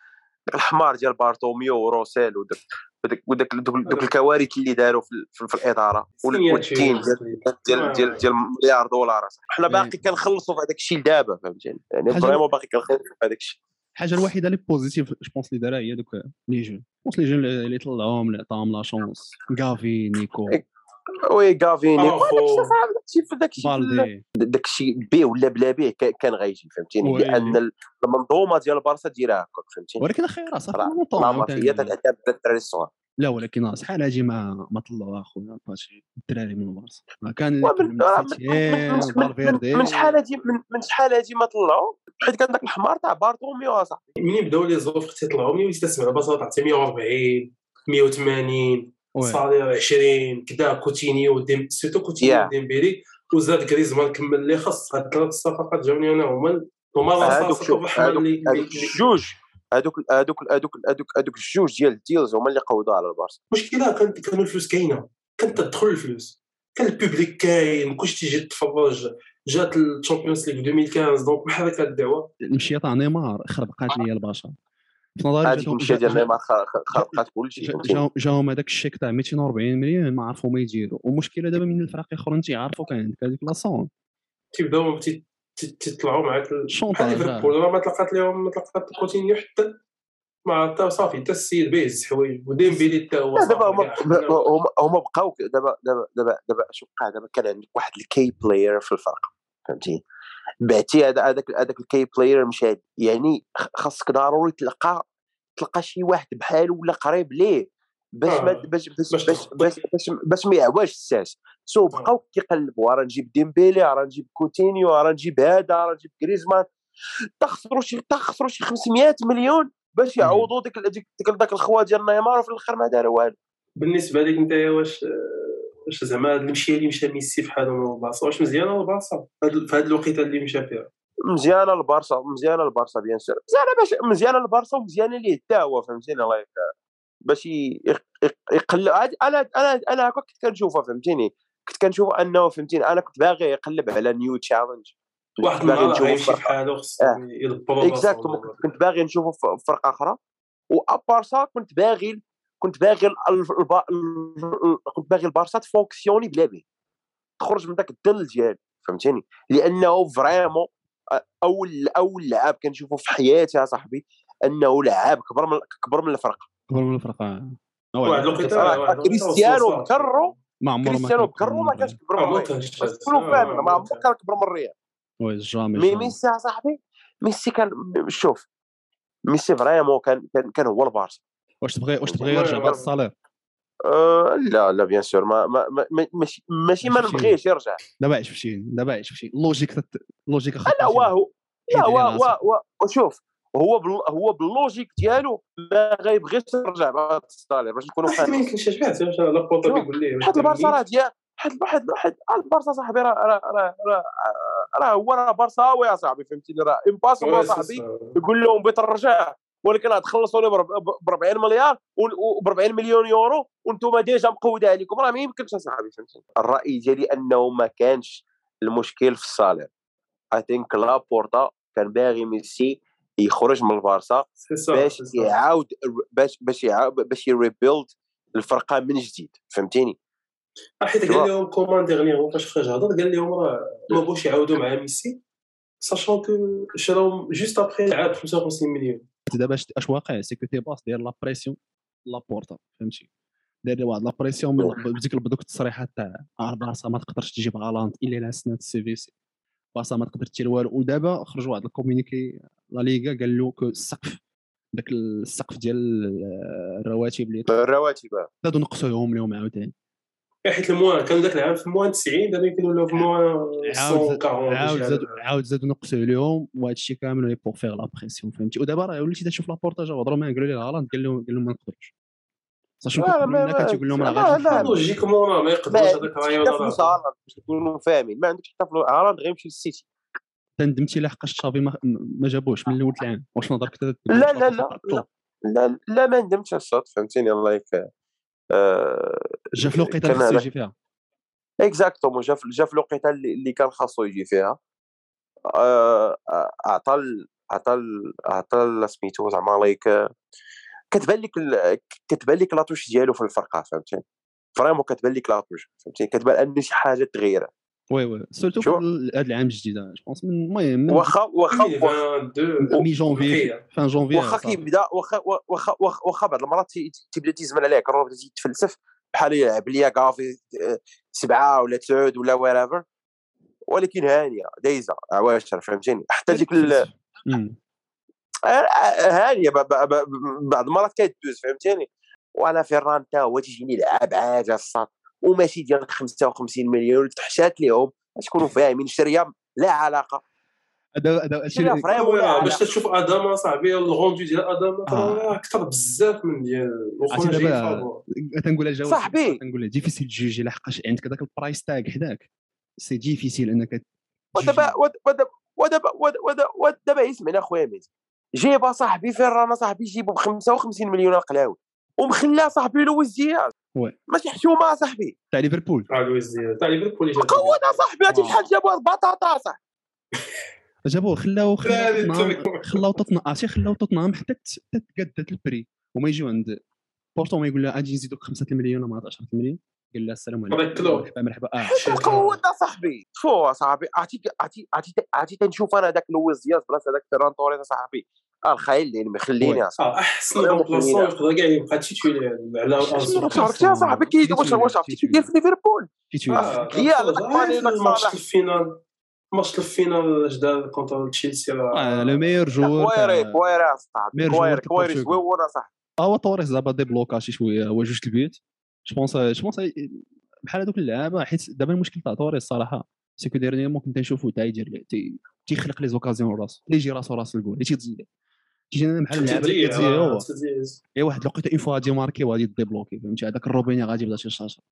S4: داك الحمار ديال بارتوميو وروسيل وداك وداك وداك دوك- دوك الكوارث اللي داروا في, ال- في, في الاداره وال- والدين ديال ديال ديال ديال مليار دولار أصاحبي. حنا باقي كنخلصوا في هذاك الشيء دابا فهمتيني يعني
S1: إيه. حاجة-
S4: فريمون باقي كنخلصوا في هذاك الشيء
S1: الحاجه الوحيده اللي بوزيتيف جو بونس اللي دارها هي دوك لي جون بونس لي جون اللي طلعوهم اللي عطاهم لا شونس غافي نيكو
S4: وي كافيني
S3: أوفو.
S4: داك الشيء صعب داك الشيء في داك الشيء
S1: بالدي
S4: داك الشيء بيه ولا بلا بيه كا- كان غيجي فهمتيني
S1: وي.
S4: لان المنظومه ديال بارسا ديرها هكاك فهمتيني
S1: ولكن اخي راه صافي
S4: راه
S1: ما
S4: لا
S1: طلعوا
S4: مافيا
S1: عاوتاني.
S4: تتعتمد على الدراري الصغار
S1: لا ولكن راه شحال هاجي ما ما طلعوا اخويا فاش الدراري من بارسا ما كان اللي
S4: ومن-
S1: قبل من
S4: آه، من-
S1: سيتيان،
S4: من- من-
S1: فالفيردي.
S4: من شحال هادي من من شحال هادي ما طلعوا حيت كان داك الحمار تاع بارتوميو اصاحبي
S3: ملي بداو لي زوفر تيطلعوا ملي وليت كتسمع بساطه عطيه 140 180
S1: وي.
S3: صالير 20 كدا كوتينيو ديم سيتو كوتينيو
S4: Yeah.
S3: ديمبيلي وزاد غريزمان كمل لي خاص هاد ثلاث صفقات جاوني انا هما هما
S4: هادوك
S3: الرصاصه
S4: شوف
S3: الحمر
S4: هادوك
S3: اللي
S4: هادوك الجوج هادوك هادوك هادوك هادوك هادوك الجوج ديال الديلز هما اللي قودوا على البارسا
S3: المشكله كانت كانوا الفلوس كاينه كانت تدخل الفلوس كان البوبليك كاين كلشي تيجي تتفرج جات الشامبيونز ليغ 2015 دونك بحال هكا الدعوه
S1: المشيه تاع نيمار خربقات ليا البشر في نظري
S4: هذيك
S1: جاتهم-
S4: المشيه ديال
S1: جا-
S4: نيمار خ- خ- خرقات كلشي
S1: جا-
S4: فهمتيني
S1: جاهم- جاهم هذاك الشيك تاع 240 مليون ما عرفوا ما يديروا والمشكله دابا من الفرق الاخرين تيعرفوا كان عندك هذيك لاصون
S3: تيبداو تي- تي- تيطلعوا معاك ال- بحال
S1: الشونطاج
S3: ليفربول راه ما طلقات لهم ما طلقات كوتينيو حتى ما عرفت صافي حتى السيد به الحوايج وديمبيلي حتى هو
S4: لا دابا
S3: صافي، يعني
S4: هما
S3: كاع عرفنا.
S4: هما هما بقاو ك- دابا دابا دابا دابا شو وقع دابا كان عندك واحد الكي بلاير في الفرق فهمتي بعتي هذا هذاك هذاك الكي بلاير مشى يعني خ- خاصك ضروري تلقى تلقى شي واحد بحاله ولا قريب ليه باش ما
S3: آه.
S4: باش باش
S3: باش
S4: باش
S3: تخطي.
S4: باش باش, باش ما يعواش الساس سو بقاو كيقلبوا "آه، راه نجيب ديمبيلي راه نجيب كوتينيو راه نجيب هذا آه، راه نجيب كريزمان تخسروا شي تخسروا شي 500 مليون باش يعوضوا ديك ديك ديك داك الخوا ديال نيمار وفي الاخر ما داروا والو
S3: بالنسبه لك انت واش واش زعما هاد المشيه اللي مشى ميسي بحالو من البارسا واش مزيانه البارسا هاد- في هاد الوقيته اللي مشى فيها
S4: مزيانه البارسا مزيانه البارسا بيان سير مزيانه باش مزيانه البارسا ومزيانه ليه حتى هو فهمتيني الله يك باش ي- يق- يق- يقلب عاد انا انا انا هكا كنت كنشوفها فهمتيني كنت كنشوف انه فهمتيني انا كنت باغي يقلب على نيو تشالنج
S3: واحد
S4: كنت
S3: النهار
S4: باغي
S3: راه
S4: نشوفه
S3: غيمشي
S4: في فرقة-
S3: بحالو خص
S4: آه.
S3: يدبروا
S4: اكزاكتومون كنت كنت باغي نشوفه في في فرقه اخرى وابار سا كنت باغي كنت باغي ال- ال- الب- ال- كنت باغي البارسا تفونكسيوني بلا به تخرج من ذاك الدل ديالو فهمتيني لانه فريمون أ- اول اول لعاب كنشوفه في حياتي يا صاحبي انه لعاب كبر من كبر من الفرقه
S1: قبل من آه، الفرقه أو
S3: واحد
S1: على-
S3: الوقيته واحد
S4: راه
S3: الوقيته
S4: آه، كريستيانو
S3: وصل صافي.
S4: كررو.
S1: ما عمره ما
S4: كريستيانو
S1: كان
S4: بكرو ما كانش كبر
S3: آه،
S4: من
S3: ما
S4: الريال
S3: كانش
S4: باش تكونوا
S3: آه،
S4: فاهمين ما
S3: ما
S4: عمره
S3: كانش.
S4: كان كبر من الريال
S1: وي جامي
S4: مي
S1: جامي.
S4: ميسي يا صاحبي ميسي كان شوف ميسي فريمون كان كان كان هو البارسا
S1: واش تبغي واش تبغي
S3: والله
S1: يرجع
S3: يا
S1: بعد
S3: رب.
S1: الصالير
S4: آه، لا لا بيان سور ما ما ما- ما- ماشي ماشي ما
S1: ماشي
S4: نبغيش يرجع
S1: دابا عيش فشي دابا عيش فشي لوجيك تت... لوجيك اخا
S4: لا واهو لا
S1: حيد عليه
S4: وا-
S1: راسك.
S4: وا- وا- وشوف هو بال- هو باللوجيك ديالو ما غيبغيش يرجع بعد الصالير باش نكونوا
S3: واحد ما
S4: فاهمين
S3: يمكنش شبعت واش لا بوطا كيقول ليه
S4: حيت البارسا راه ديال حيت حيت حيت البارسا صاحبي راه راه راه راه- راه هو راه بارساوي يا صاحبي فهمتيني راه
S3: آه،
S4: امباسبل صاحبي يقول لهم بغيت نرجع ولكن غتخلصوني ب 40 مليار و ب 40 مليون يورو وانتم ديجا مقوده عليكم راه ما يمكنش اصاحبي فهمتي الراي ديالي انه ما كانش المشكل في الصالير اي ثينك لابورتا كان باغي ميسي يخرج من البارسا باش يعاود باش باش يعاود باش يريبيلد الفرقه من جديد فهمتيني
S3: حيت قال لهم كومان ديغنيغ فاش خرج هضر قال لهم راه ما بغوش يعاودوا مع ميسي ساشون كو شراهم جوست ابخي لعاب 55 مليون
S1: دابا شت- اش واقع سي كو تي باس داير لا بريسيون لابورتا فهمتي داير واحد لا بريسيون من- بديك بدوك التصريحات تاع آه بارسا ما تقدرش تجيب هالاند الا لها سنه السي في سي بارسا ما تقدر دير والو ودابا خرج واحد الكومينيكي لا ليغا قال له كو السقف داك السقف ديال الرواتب اللي
S4: الرواتب
S1: زادوا نقصوهم لهم عاوتاني
S3: إيه، حيت الموان كانوا ذاك العام في موان 90 دابا يمكن ولاو في موان
S1: عاود
S3: 140
S1: عاود
S3: شي
S1: زادوا
S3: حاجة.
S1: عاود زادوا نقصوا عليهم وهذا الشيء كامل وي بور فيغ لا بريسيون فهمتي ودابا راه وليتي تشوف لابورتاج هضروا معاه قالوا لي الهالاند قال لهم قال لهم ما نقدرش ساشو
S4: آه، ما-
S1: كنا
S4: ما-
S1: كتقول لهم راه
S4: لا،
S1: غادي
S4: لا،
S1: نحاول.
S3: لوجيكمون راه ما
S4: ما
S3: يقدروش هذاك
S4: عندكش
S3: الرايون
S4: حتى فلوس
S3: راه
S4: هالاند باش نكونوا فاهمين ما عندكش حتى فلوس هالاند غيمشي للسيتي
S1: تندمتي لحقاش تشافي ما, ما جابوش من اول العام واش نظرك حتى تقول
S4: لا-
S1: شافي
S4: لا-
S1: خطأ
S4: لا.
S1: الطوب؟
S4: لا لا ما ندمتش على الشوط فهمتيني الله يك آه،
S1: جا في الوقيته
S4: كان
S1: اللي خصو
S4: هذاك-
S1: يجي فيها
S4: اكزاكتومون جا في- جا في الوقيته اللي اللي كان خاصو يجي فيها آه، آه، عطى ال- عطى ال- عطى ال- سميتو زعما لايك آه، كتبان لك ال- كتبان لك لاطوش ديالو في الفرقه فهمتي فريمون كتبان لك لاطوش فهمتي كتبان ان شي حاجه تغير
S1: وي وي سورتو في
S4: شو؟
S1: ال- هذا العام الجديد أنا جو بونس من- المهم من
S4: واخا واخا واخا-
S3: 22
S1: مي جونفي
S3: بقية.
S1: فان جونفي
S4: واخا كيبدا واخا واخا واخا- واخا بعض المرات تي- تي- تيبدا تيزمل عليك الروب تيجي تفلسف بحال يلعب ليا كافي آه، سبعه ولا تسعود ولا ويرافر ولكن هانيه دايزه عواشر فهمتيني حتى ديك ال-
S1: Hmm.
S4: هانيه ب- ب- ب- بعض المرات كيدوز فهمتيني وانا فيران تا هو تيجيني لعاب عاجه الصاط وماشي ديال 55 مليون اللي تحشات ليهم تكونوا فاهمين شريه لا علاقه
S1: هذا هذا الشيء
S4: شريه
S1: اللي-
S4: فريمون لا
S3: ولا باش
S4: علاقه
S3: تشوف اداما صاحبي الغوندو ديال اداما
S1: آه.
S3: راه اكثر بزاف من ديال
S1: عرفتي
S3: وخرج
S1: دابا- تنقولها جواب
S4: صاحبي.
S1: تنقولها ديفيسيل تجوجي لحقاش عندك هذاك البرايس تاغ حداك سي ديفيسيل انك
S4: ودابا ود- ودابا ودابا ود- ود- ودابا اسمعني اخويا ميت جيبها صاحبي فيران صاحبي جيبو ب 55 مليون القلاوي ومخلاه صاحبي لويس دياز
S1: وي.
S4: ماشي حشومه صاحبي
S1: تاع ليفربول
S3: تاع آه، لويس ديال تاع ليفربول اللي جاب
S4: قوة صاحبي هاتي
S1: واو.
S4: شحال جابوها بطاطا صاحبي
S1: جابوه خلاو خلاو
S3: لا،
S1: توتنهام
S3: للتوي.
S1: خلاو توتنهام عرفتي خلاو توتنهام حتى تت- حتى تقدت البري وما يجيو عند بورتو ما يقول لها اجي نزيدوك 5 المليون ولا ما عرفت 10 المليون قال لها السلام عليكم
S3: ركلو.
S1: مرحبا مرحبا اه
S3: شيطان.
S4: قوة صاحبي شو صاحبي عرفتي عرفتي عرفتي عرفتي تنشوف انا ذاك لويس دياز بلاصه ذاك فيران توريس صاحبي آه، الخيال اللي مخليني أصاحبي.
S3: اه احسن
S4: ولا
S3: بلاصه
S4: مخلينا.
S3: يقدر كاع يبقى تيتولير على
S4: شنو
S3: ارسنال
S4: راك عرفتي يا صاحبي كي واش واش عرفتي كيدير في ليفربول
S1: كي تجي
S3: اه
S4: هي على
S3: كنتفرج غير
S4: داك فاني
S3: في
S4: وداك
S3: الماتش
S4: صالح.
S3: الفينال الماتش الفينال اش دار كونتر تشيلسي
S1: آه،
S3: راه
S1: لو ميور جوور
S4: كويري
S1: تاع-
S4: كويري صاحبي
S1: ميرجو
S4: كويري
S1: ورد
S4: كويري
S1: البرتغال.
S4: زويون صاحبي
S1: اه توريس دابا ديبلوكا شي شويه هو جوج البيوت جو بونس جو بونس بحال هذوك اللعابه حيت دابا المشكل تاع توريس صراحه سيكو ديرنيامون كنت نشوفو تا يدير لي- تي- تيخلق لي زوكازيون راسو تيجي راسو راس الجول اللي تيتزيد تيجي بحال اللعابه اللي
S3: تضيع
S1: كتزيد هو
S3: راه تضيع.
S1: اي واحد الوقيته اون فوا غادي ماركي وغادي ديبلوكي فهمتي هذاك الروبينيا غادي يبدا شي شاشه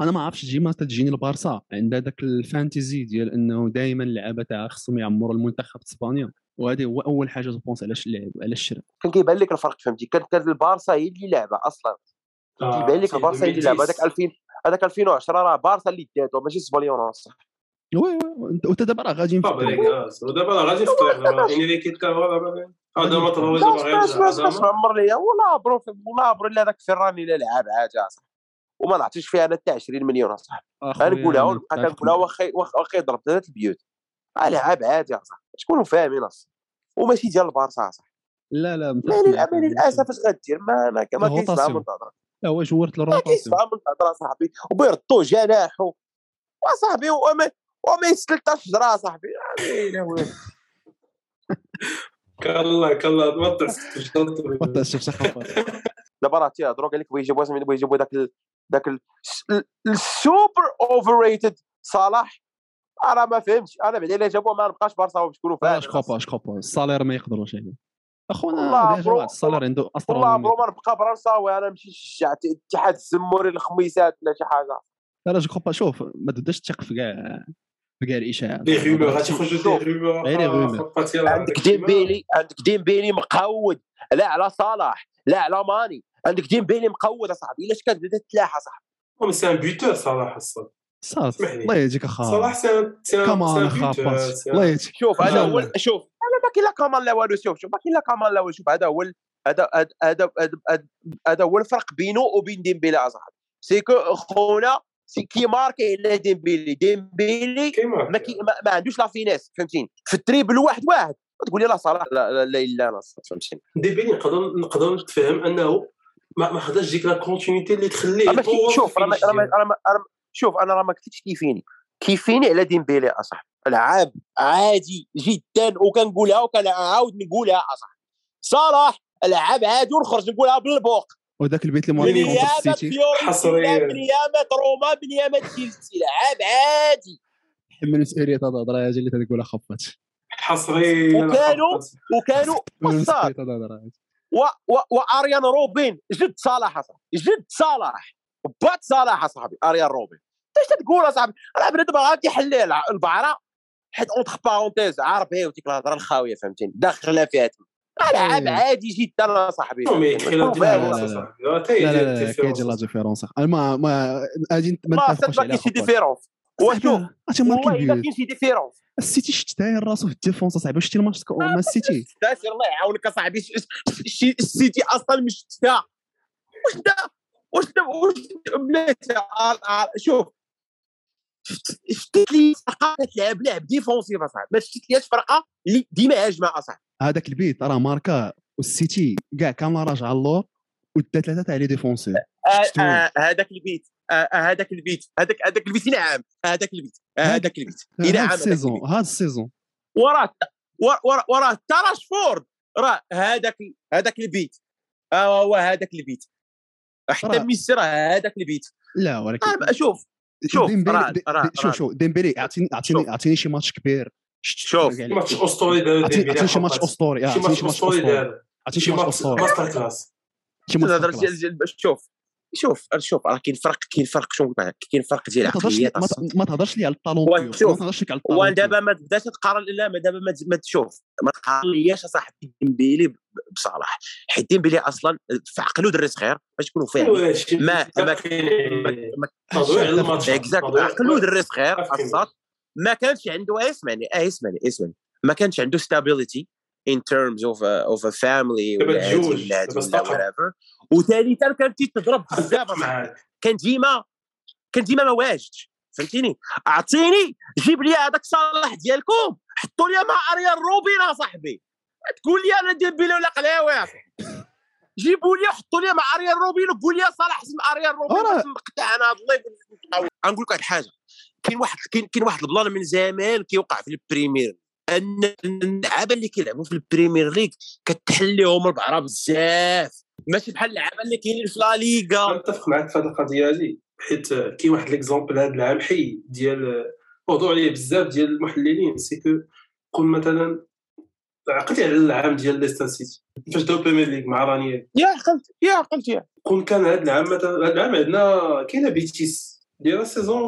S1: انا ما عرفتش تجي ما تجيني البارسا عندها ذاك الفانتيزي ديال انه دائما اللعابه تاعها خصهم يعمروا المنتخب اسبانيا وهذه هو اول حاجه جوبونس علاش اللعب علاش الشراء
S4: كان كيبان لك الفرق فهمتي كان كان البارسا هي اللي لعبه اصلا
S3: آه،
S4: كيبان لك البارسا هي اللي لعبه هذاك 2000 هذاك 2010 راه بارسا اللي داتو ماشي سباليون صاحبي
S1: وي وي وانت دابا راه غادي
S3: طب
S1: نفكر
S3: ودابا راه غادي يفطر انريكي تا هو دابا هذا ما تهوى
S4: باش
S3: دابا غير
S4: باش باش باش
S3: هذا
S4: معمر ليا والله عبرو والله عبرو الا ذاك فيران الا لعب عاجه صاحبي وما نعطيش فيها انا حتى 20 مليون اصاحبي
S1: اخويا
S4: انا نقولها
S1: أنا
S4: ونبقى
S1: متفق
S4: كنقولها
S1: معك.
S4: واخا واخا واخا يضرب ثلاث البيوت راه لعاب عادي اصاحبي تكونوا فاهمين اصاحبي وماشي ديال البارسا اصاحبي
S1: لا لا متفق
S4: يعني
S1: معك.
S4: الاماني للاسف اش غدير ما ما ما
S1: الروتاسيون.
S4: كيسمع من الهضره
S1: لا هو جورت
S4: ما
S1: الروتاسيون
S4: كيسمع من الهضره اصاحبي وبيردو جناحو اصاحبي وما وما يسلطش شجره اصاحبي يعني-
S3: كلا كلا ما تعرفش
S1: وانت شفت شي خفاف.
S4: دابا راه تيهضروا قال لك بغا يجيبوا سميتو بغا يجيبوا ذاك ال- ذاك ال- ال- السوبر اوفر ريتد صلاح انا ما فهمتش انا بعدا الا جابوه ما نبقاش بارسا باش تكونوا
S1: لا
S4: فاهمين
S1: جو كوبا جو كوبا الصالير ما يقدروش عليه
S4: والله
S1: اخونا ديجا
S4: برو-
S1: واحد الصالير عنده
S4: والله
S1: اسطرونومي
S4: عمرو ما نبقى برنساوي انا نمشي نشجع ت- اتحاد الزموري الخميسات ولا شي حاجه
S1: لا لا جو كوبا شوف ما تبداش تثق في كاع في كاع الاشاعات
S3: لي غيومور غادي يخرجوا
S4: شوف.
S3: لي غيومور
S1: غير لي غيومور.
S4: عندك ديمبيلي عندك ديمبيلي مقود لا على صلاح لا على ماني عندك ديمبيلي مقود اصاحبي الا كانت بدات تلاحى صاحبي
S3: مي سي ان بيوتور صلاح الصاد
S1: صاد
S3: اسمح لي.
S1: الله يهديك اخا
S3: صلاح سي ان سي ان سي
S1: كمان
S3: ان
S1: اخا
S3: بيوتور
S1: باس.
S3: سي
S1: الله
S3: ان-
S1: يهديك
S4: شوف هذا
S3: لا،
S4: هو
S3: لا.
S4: شوف انا ما كاين لا كمان لا والو شوف شوف ما كاين لا كمان لا والو شوف هذا هو ال- هذا هذا- هذا هذا- هذا هو الفرق بينه وبين ديمبيلي اصاحبي سيكو خونا سي كي ماركي الا ديمبيلي ديمبيلي
S3: كيما
S4: ما, كي ما, ما عندوش لا فينيس فهمتيني في التريبل واحد واحد تقول لي لا صلاح لا لا لا, لا انا فهمتيني
S3: ديمبيلي نقدر نقدر نتفهم انه ما ما خداش ديك لا كونتينيتي اللي تخليه
S4: راه ماشي
S3: يطور
S4: شوف
S3: في
S4: راه ما-
S3: الفينيش
S4: راه ما-
S3: ديالو.
S4: راه ما- راه ما- شوف انا راه ما كنتش كيفيني كيفيني على ديمبيلي اصاحبي العاب عادي جدا وكنقولها وكنعاود نقولها اصاحبي صلاح العاب عادي ونخرج نقولها بالبوق
S1: وذاك البيت اللي موريني كونتر
S5: بنيامه
S1: السيتي
S5: فيورنتينا
S3: حصرياً.
S5: بنيامه روما بنيامه تشيلسي لعاب عادي
S1: حمل مسؤوليه هذا الهضره يا جلي تقولها خفات
S3: حصريا
S4: وكانوا- وكانوا
S1: حمل
S4: وصار
S1: مسؤولية هذا الهضرة يا جلي.
S4: و... و... واريان روبن جد صلاح اصاحبي جد صلاح بات صلاح اصاحبي اريان روبن انت اش تقول اصاحبي راه بنادم راه تيحلي الع- البعره حيت اونتخ بارونتيز عارف هي وديك الهضره الخاويه فهمتيني داخلنا فيها تما راه لعاب
S1: إيه. طيب،
S4: عادي جدا اصاحبي
S1: لا، لا، لا. لا لا لا كيجي لا
S3: لا
S1: ديفيرونس ما ما اجي ما
S4: ما
S1: نتفقوش
S4: صدق
S1: عليها
S4: كاين شي
S1: خفات.
S4: ديفيرونس وشوف
S1: صاحبي، اش
S4: والله
S1: ماركي
S4: الا
S1: بيوت
S4: كاين شي ديفيرونس
S1: السيتي شت داير راسو في الديفونس صاحبي شتي الماتش تك-
S4: آه،
S1: مع السيتي
S4: تاسير الله يعاونك اصاحبي ش- ش- ش- السيتي اصلا مش شتها واش دا واش دا واش دا- بلاتي عار- عار- شوف شت- شتت لي فرقه كتلعب لعب ديفونسيف اصاحبي ما شتت ليش فرقه اللي ديما هاجمه اصاحبي
S1: هذاك البيت راه ماركا والسيتي كاع كامله راجعه اللور ودا ثلاثه تاع لي ديفونسير
S4: آه،
S1: شتو؟
S4: آه، هذاك البيت آه، آه، هذاك البيت هذاك هذاك البيت ينعم هذاك البيت هذاك البيت
S1: هاد
S4: ينعم هذاك
S1: السيزون
S4: البيت.
S1: هاد السيزون
S4: وراه وراه- وراه وراه حتى راشفورد راه هذاك هذاك البيت اه هو هذاك البيت حتى
S1: راه-
S4: ميسي راه هذاك البيت
S1: لا ولكن
S4: آه، شوف شوف
S1: ديمبيلي-
S4: راه-
S1: دي-
S4: راه-
S1: دي- شوف
S4: راه.
S1: شوف ديمبيلي اعطيني اعطيني
S4: شوف.
S1: اعطيني شي ماتش كبير شت-
S4: شوف.
S1: شتفرج عليه.
S3: ماتش اسطوري دارو
S1: اعطيني
S3: ديمبيلي
S1: اعطيني شي ماتش
S3: حقاً.
S1: اسطوري آه،
S3: شي
S1: اعطيني
S3: ماتش
S1: شي ماتش
S3: اسطوري
S1: اسطوري
S3: دارو
S1: اعطيني
S3: شي
S1: شي ماتش
S3: ماتش
S1: اسطوري
S3: ماستر كلاس
S1: شي ماتش
S4: تهضر
S1: اسطوري
S4: ديال- ديال- شوف شوف شوف راه كاين فرق كاين فرق شنو قلت لك كاين فرق ديال
S1: ما تهضرش لي-
S4: العقليات
S1: ما
S4: أصلاً.
S1: ت- ما تهضرش لي على الطالون
S4: واه،
S1: ديالو.
S4: شوف.
S1: ما تهضرش لك على الطالون
S4: ودابا ما تبداش تقارن لا ما دابا ما ت- ما تشوف ما تقارنياش اصاحبي ديمبيلي ب- بصلاح حيت ديمبيلي اصلا في عقله دري صغير باش نكونوا
S1: طيب.
S4: فاهمين ما- ما- ما- ما
S3: تضويع الماتش
S4: اكزاكت
S3: تضويع-
S4: عقلو دري صغير
S3: أفهم.
S4: خاصات ما كانش عنده آه، اسمعني آه، اسمعني اسمعني ما كانش عنده ستابيليتي in terms of a, of a family
S3: دابا
S4: ولا عيال
S3: تزوج،
S4: ولاد
S3: دابا
S4: ولا
S3: استقر.
S4: whatever وثالثا كان تيتضرب بزاف
S3: اتفق
S4: مع
S3: معاك
S4: كان ديما كان ديما ما واجدش فهمتيني اعطيني جيب لي هذاك صلاح ديالكم حطوا لي مع اريان روبين صاحبي تقول لي انا ديمبيلي ولا قلاوي يا صاحبي. جيبوا لي حطوا لي مع اريان روبين وقول لي صلاح اسم اريان روبين
S1: أرى-
S4: باش نقطع انا هاد الليف ونتعاود. غنقول لك واحد الحاجه كاين واحد كاين كاين واحد البلان من زمان كيوقع في البريمير ان إن اللعابه اللي كيلعبوا في البريمير ليغ كتحل لهم البعره بزاف ماشي بحال اللعابه اللي كاينين في لا ليغا
S3: نتفق معك في هذه القضيه هذه حيت كاين واحد ليكزومبل هذا العام حي ديال موضوع عليه بزاف ديال المحللين سي كو كون مثلا عقلتي على العام ديال ليستر سيتي فاش داو بريمير ليغ مع رانيير
S4: يا عقلت يا عقلت يا
S3: كون كان هذا العام مثلا هذا العام عندنا كاينه بيتيس ديال سيزون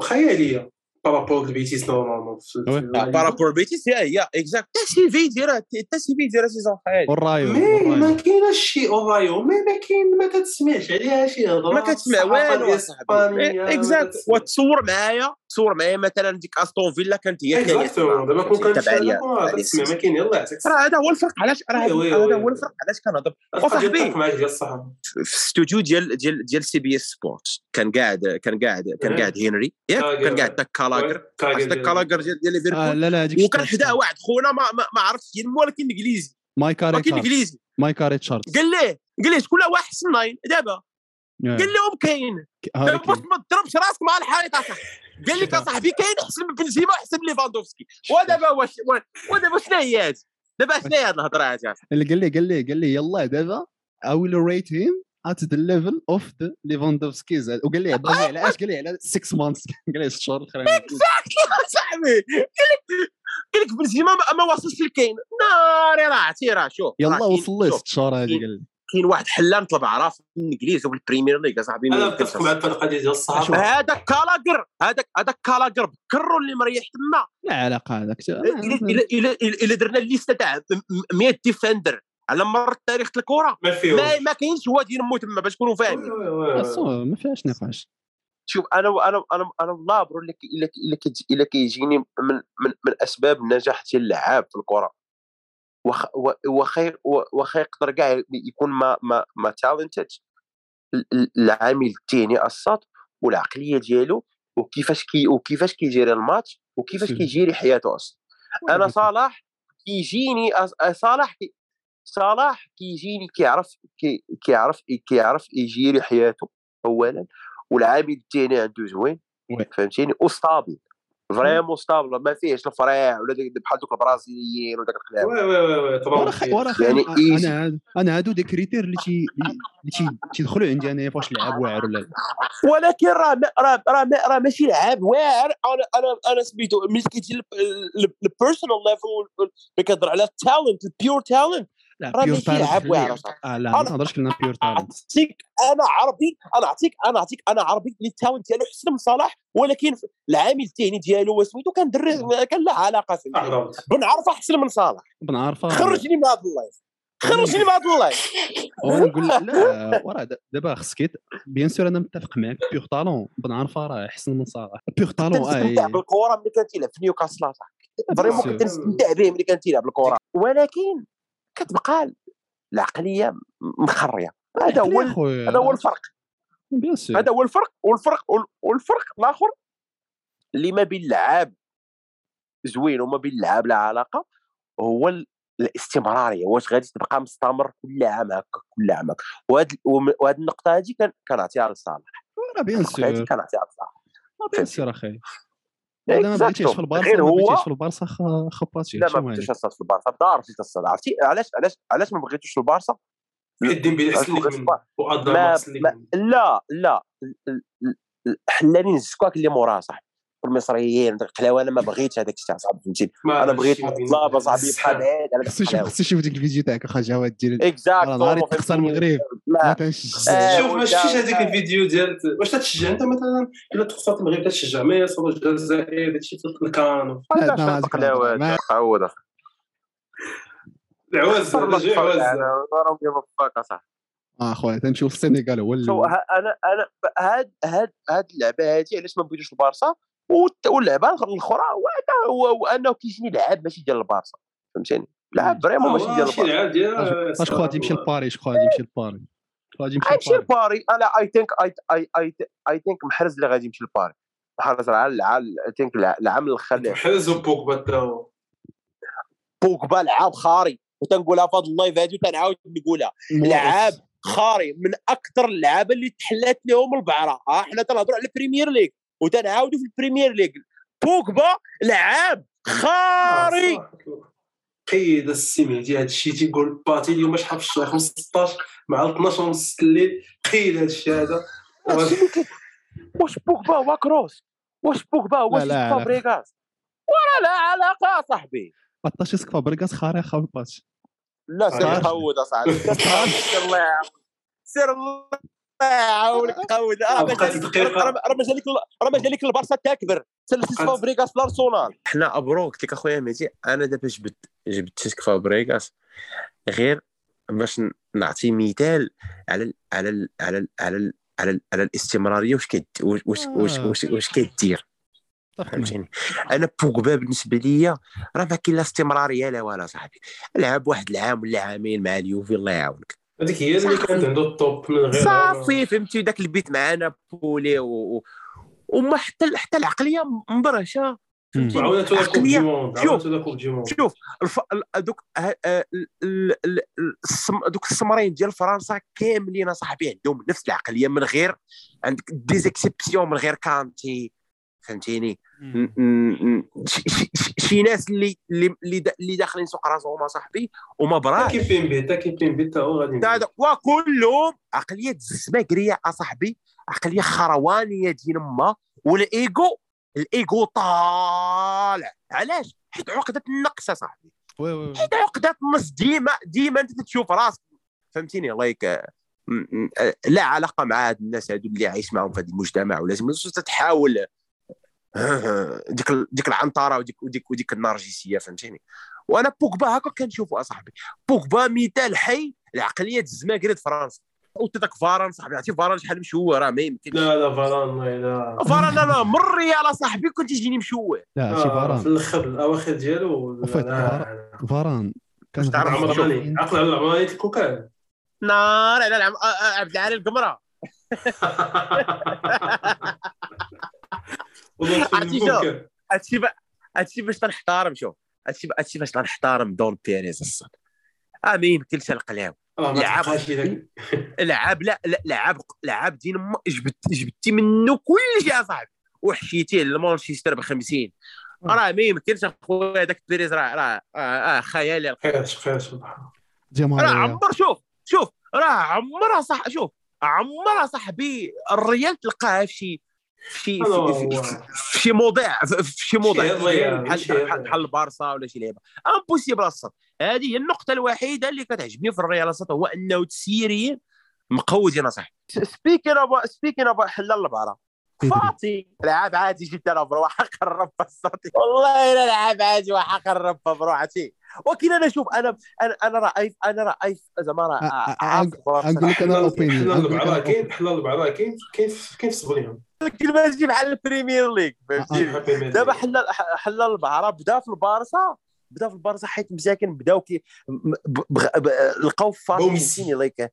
S3: خياليه بارابور لبيتيس نورمالمون في- في
S1: وي.
S3: اللايغا.
S4: بارابور بيتيس يا يا اكزاكت تا سي في ديرها تا سي في ديرها سيزون خيالي
S1: والرايو
S3: مي ما
S4: أيوة.
S1: والرايو.
S3: كايناش شي اورايو مي ما كاين ما كتسمعش عليها شي هضره
S4: ما كتسمع والو يا صاحبي إيه، اكزاكت وتصور معايا تصور معايا مثلا ديك استون فيلا كانت هي الثانيه
S3: اكزاكت دابا كون كان
S4: تبع ليا
S3: تسمع ما كاين يلاه عتاك
S4: راه هذا هو الفرق علاش راه هذا
S3: وي- وي-
S4: هذا
S3: وي.
S4: هو الفرق علاش كنهضر وصاحبي.
S3: وصاحبي معاك ديال الصحافه
S4: في الاستوديو ديال ديال ديال سي بي اس سبورت كان قاعد كان قاعد كان
S3: إيه.
S4: قاعد هنري ياك
S3: كالاغر.
S4: كان قاعد داك
S3: أيوة.
S4: كالاغر
S3: كاغي
S4: داك كالاغر ديال ديال
S1: آه،
S4: ليفربول
S1: لا لا هذيك
S4: وكان حداه واحد خونا ما ما, ما عرفتش ينمو ولكن انجليزي
S1: مايكا
S4: ولكن
S1: ريكارد
S4: انجليزي
S1: مايكا ريتشاردز
S4: قال ليه قال ليه شكون واحد حسناين دابا
S1: يا،
S4: قال لهم كاين
S1: هاري
S4: باش
S1: كين.
S4: ما تضربش راسك مع الحائط اصاحبي قال لك اصاحبي كاين احسن من بنزيما واحسن من ليفاندوفسكي ودابا واش ودابا شنو هي هذه دابا شنو هي هذه الهضره هذه أصاحبي؟
S1: اللي قال لي قال لي قال لي يلا دابا I will rate him at the level of the Lewandowski's وقال لي عبر على اش قال لي على 6 months قال لي 6 شهور الاخرين
S4: صاحبي قال لك قال لك بنزيما ما- ما وصلش لكاين ناري راه عرفتي راه شوف راه
S1: يلا
S4: كاين-
S1: وصل لي
S4: شوف،
S1: 6 شهور هذه قال لي
S4: كاين واحد حلان طلب عراف في الانجليز وفي البريمير ليغ اصاحبي
S3: انا متفق معك في القضيه ديال الصحافه
S4: هذاك كالاكر هذاك هذاك كالاكر بكرو اللي مريح تما
S1: لا علاقه هذاك
S4: إيه، الا الا الا إلا درنا الليسته تاع 100 ديفندر على مر تاريخ الكره
S3: ما فيهوش
S4: ما ما كاينش واد ينمو تما باش تكونوا
S3: وي-
S4: فاهمين
S3: وي- وي- وي.
S1: ما فيهاش نقاش
S6: شوف انا انا انا انا النابرو اللي كي- اللي كي- اللي كيجي- اللي كيجيني من من من اسباب النجاح ديال اللعاب في الكره وخ- و- وخا و- وخا يقدر كاع يكون ما ما ما تالنتد العامل الذهني الساط والعقليه ديالو وكيفاش كي وكيفاش كيجيري الماتش وكيفاش
S1: سير.
S6: كيجيري حياته اصلا انا صلاح كيجيني أص-
S4: آه،
S6: أ- صلاح كي صلاح كيجيني كيعرف كي كيعرف كيعرف يجيري حياته اولا والعامل الثاني عنده زوين
S1: وي.
S6: فهمتيني وستابل
S7: فريمون ستابل ما فيهش الفريع ولا داك- بحال دوك البرازيليين وداك الكلام
S3: وي وي وي وي
S1: ورا
S3: طبعا
S1: خ- ورا خ-
S7: يعني
S1: أنا-
S7: easy.
S1: انا هاد- انا هادو دي كريتير اللي تي اللي تي- تيدخلوا عندي انايا فاش لعاب واعر ولا لا
S2: ولكن راه ما- راه راه ما- راه ماشي لعاب واعر انا انا انا سميتو ملي كيجي البيرسونال ليفل اللي كتهضر على التالنت البيور تالنت
S1: لا
S2: راه
S1: بيور
S2: ماشي لعاب واعر
S1: تالنت
S2: أصاحبي.
S1: لا ما نهضرش كلنا بيور تالنت
S2: اعطيك انا عربي انا اعطيك انا اعطيك انا عربي اللي التالنت ديالو حسن من صلاح ولكن العامل التقني ديالو وسميتو كان دري كان له علاقه فهمتي
S3: احضرت
S2: بن عرفه احسن من صلاح
S1: بنعرفها
S2: خرجني من هذا اللايف خرجني من هذا اللايف
S1: ونقول لا وراه د- دابا خصك يت- بيان سور انا متفق معاك بيغ طالون بنعرفها راه احسن من صلاح بيغ طالون اه
S2: كنستمتع
S1: إيه.
S2: بالكره ملي كان تيلعب في نيوكاسل أصاحبي. فريمون
S3: آه،
S1: سير.
S2: كنت نستمتع به ملي كان تيلعب الكره ولكن كتبقى العقليه م- مخريه هذا هو
S1: يا
S2: ال-
S1: خويا.
S2: هذا هو الفرق
S1: بيان سور
S2: هذا هو الفرق والفرق وال- والفرق الاخر
S7: اللي ما بين لعاب زوين وما بين لعاب لا علاقه هو ال- الاستمراريه واش غادي تبقى مستمر كل عام هكا كل عام هكا وهاد وم- وهاد النقطه هادي كان كنعطيها لصالح
S1: راه بيان
S7: النقطه هادي
S1: سور
S7: كنعطيها لصالح
S1: راه بيان سور اخي انا ما
S7: Exactement.
S1: بغيتيش في البارسا
S7: إيه، غير
S1: ما بغيتيش
S7: هو
S1: في البارسا خ- خباتي
S7: لا ما
S1: شنو
S7: بغيتوش
S1: هادي
S7: الصاد في البارسا دار في الصاد عرفتي علاش علاش علاش ما بغيتوش في البارسا
S3: الدين بلا
S7: عرفتوا
S3: حسن ليك
S7: غير
S3: منه
S7: صباح.
S3: وادرى
S7: ما-
S3: ما حسن ليك
S7: ما-
S3: منه
S7: لا لا ال- ال- ال- الحلالين زكواك اللي موراه صاحبي المصريين داك القلاوه انا ما بغيتش هذاك الشيء صاحبي فهمتي
S3: ما-
S7: انا
S3: هادشي
S7: بغيت
S3: ما بيننا.
S7: الطلاب صاحبي يبقى
S3: الزحام.
S7: بعيد على داك
S1: خصني نشوف
S7: القلاوه
S1: خصني نشوف ديك الفيديو تاعك اخا جواد دير راه نهار
S7: اكزاكتومون
S1: تقصى المغرب لا تنشجع
S7: آه،
S3: شوف ما
S7: ودا-
S3: شفتيش هذيك
S7: ودا-
S3: الفيديو ديال واش تتشجع انت مثلا الا تخسر المغرب تتشجع ما صوب الجزائر هادشي في الكان
S1: هاد
S7: علاش
S1: نهار تقصى المغرب. ما-
S7: القلاوات تعود أخي.
S3: العواز
S7: الله
S3: رجع
S7: يتفرج
S3: عواز
S7: على راهم يوفقك أصاحبي.
S1: اه خويا تنمشيو للسنغال هو
S7: سو
S1: الاول.
S7: ه- انا انا هاد هاد هاد اللعبه هادي علاش ما بغيتوش البارسا والت- واللعبه الأخر- الاخرى وأنا- هو هو انه كيجيني لعاب ماشي ديال البارسا فهمتيني لعاب فريمون ماشي ديال
S3: آه، ماشي
S7: البارسا
S3: لعاب ديال
S1: اش خويا تيمشي لباريس اش خويا تيمشي لباريس اش خويا تيمشي
S7: غيمشي
S1: لباريس
S7: لباري
S2: آه،
S7: انا اي ثينك اي اي اي ثينك محرز اللي غادي يمشي لباري محرز على الع- I think الع- العام الاخر اللي-
S3: حرز وبوكبا داو
S2: بوكبا لعاب خاري وتنقولها في هذا اللايف هادي وتنعاود نقولها
S1: المواقف.
S2: لعاب. خاري من اكثر اللعابه اللي تحلات لهم البعره ها حنا تنهضروا على البريمير ليغ وتنعاودوا في البريمير ليغ بوكبا لعاب خاري
S3: Ah, قيد السيمي ديال هادشي تيقول باتي اليوم شحال في الشهر 15 مع 12 ونص الليل قيد هادشي هذا
S7: هادشي اللي كي- واش بوكبا هو كروس واش بوكبا هو
S1: لا،
S7: شي
S1: لا علاقة.
S7: فابريغاس ولا لا علاقه صاحبي
S1: بطاش يسكفى بركاس خاري خاوي باتش
S7: لا
S3: علاش؟
S7: سير خود اصاحبي سير الله يعاونك
S2: سير الله يعاونك خاود راه ما
S3: بقات
S2: جالك
S3: دقيقة.
S2: راه راه ما جالك راه ما جالك البارسا تكبر سلسلة
S3: بقات-
S2: فابريغاس لارسونال
S4: حنا ابروك ديك اخويا ميتي انا دابا جبت جبت تشيسك فابريغاس غير باش ن- نعطي مثال على ال على ال على ال على ال على, ال على الاستمراريه واش كد واش واش واش واش, واش كدير
S1: اتفق معك.
S4: فهمتيني انا بوغبا بالنسبه ليا راه ما كاين لا استمراريه لا والو صاحبي لعب واحد العام ولا عامين مع اليوفي الله يعاونك
S3: هذيك هي اللي
S4: صافي.
S3: كانت عنده الطوب من غير
S4: صافي فهمتي وداك البيت معنا بولي و... و- وما حتى حتى العقليه مبرشه فهمتيني
S3: وعاونته لا كوب
S4: عقلية.
S3: دي موند
S4: شوف.
S3: عاونته لا كوب دي موند
S4: شوف الف... ال- دوك ه- ال- ال- ال- السم- دوك السمرين ديال فرنسا كاملين صاحبي عندهم نفس العقليه من غير عندك ديزيكسيبسيون من غير كانتي فهمتيني ن- ن- ن- شي- شي- شي- شي ناس اللي اللي اللي دا- اللي داخلين سوق راسهم صاحبي وما براش
S3: تاكي بين بي تاكي بين بي تا هو غادي
S4: تا- تا- وكلهم عقليه الزماكريه اصاحبي عقليه خروانيه ديال ما والايجو الايجو طالع علاش حيت عقده النقص صاحبي
S1: وي وي وي.
S4: حيت عقده النقص ديما ديما انت تشوف راسك فهمتيني لايك آه، م- م- آه، لا علاقه مع هاد الناس هادو اللي عايش معاهم في هذا المجتمع ولازم تحاول آه، ديك ال- ديك العنطره وديك وديك وديك النرجسيه فهمتيني وانا بوكبا هكا كنشوفو اصاحبي بوكبا مثال حي لعقليه الزماكريه ديال فرنسا وانت داك فاران صاحبي عرفتي فاران شحال مشوه راه ما يمكنش
S3: لا لا فالان ما لا
S4: فاران انا من ريال صاحبي كنت يجيني مشوه
S1: لا شي
S3: آه، في
S1: فاران
S3: الاخر الاواخر ديالو
S1: وفات
S3: لا، لا،
S1: فاران كان
S4: تعرف
S1: غير-
S3: عمراني عقل على العمراني الكوكان
S4: نار على العم- آه، آه، عبد العالي القمره
S3: والله
S4: عرفتي شنو؟
S3: الكوكان
S4: هادشي با- هادشي باش تنحترم شوف هادشي هادشي باش تنحترم دون بيريز الصاد اه ما يمكنش القلاو
S3: اه ما
S4: لعب.
S3: تبقاش داك
S4: لعاب لا لا- لعاب لعاب دين ما جبت جبتي منه كل شيء اصاحبي
S8: وحشيتيه لمانشستر ب 50 راه ما يمكنش اخويا هذاك بيريز راه راه آه آه خيالي
S3: بقيتش بقيتش بقيتش. آه.
S8: راه
S1: جماهيريه
S8: عمر شوف شوف راه عمرها صح شوف عمرها صاحبي الريال تلقاها في شي
S4: إيه،
S8: في
S3: هذا
S8: شي-
S3: هو.
S8: في- في شي موضع في في شي موضع
S3: شي هضية،
S8: بحال
S3: شي هضية.
S8: بحال بحال البارسا ولا شي لعيبه امبوسيبل اصلا هذه هي النقطه الوحيده اللي كتعجبني في الريال اصلا هو انه تسيريين مقودين اصاحبي
S4: سبيكين ابا سبيكين ابا حلال البعره
S8: فاطي
S4: لعاب عادي جدا ابا وحق الرب الصوتي
S8: والله الا لعب عادي وحق الرب بروحتي
S4: ولكن انا شوف انا انا انا رايت انا رايت زعما راه
S1: أ- أ- أ-
S4: عارف الفرق.
S1: اقول لك انا
S3: حنا-
S1: الاوبينيون
S3: حنا
S1: اقول لك
S3: البعضاء
S1: انا
S3: كاين حنا البعضاء كاين كاين في- كاين في صبرهم
S4: ولكن ماشي بحال البريمير ليغ فهمتيني
S1: آه.
S4: دابا حل حل البعره بدا في البارسا بدا في البارسا حيت مساكن بداو كي م- ب- بغ- ب- لقاو فاتي
S3: بوم.
S4: ميسيني لايك آه،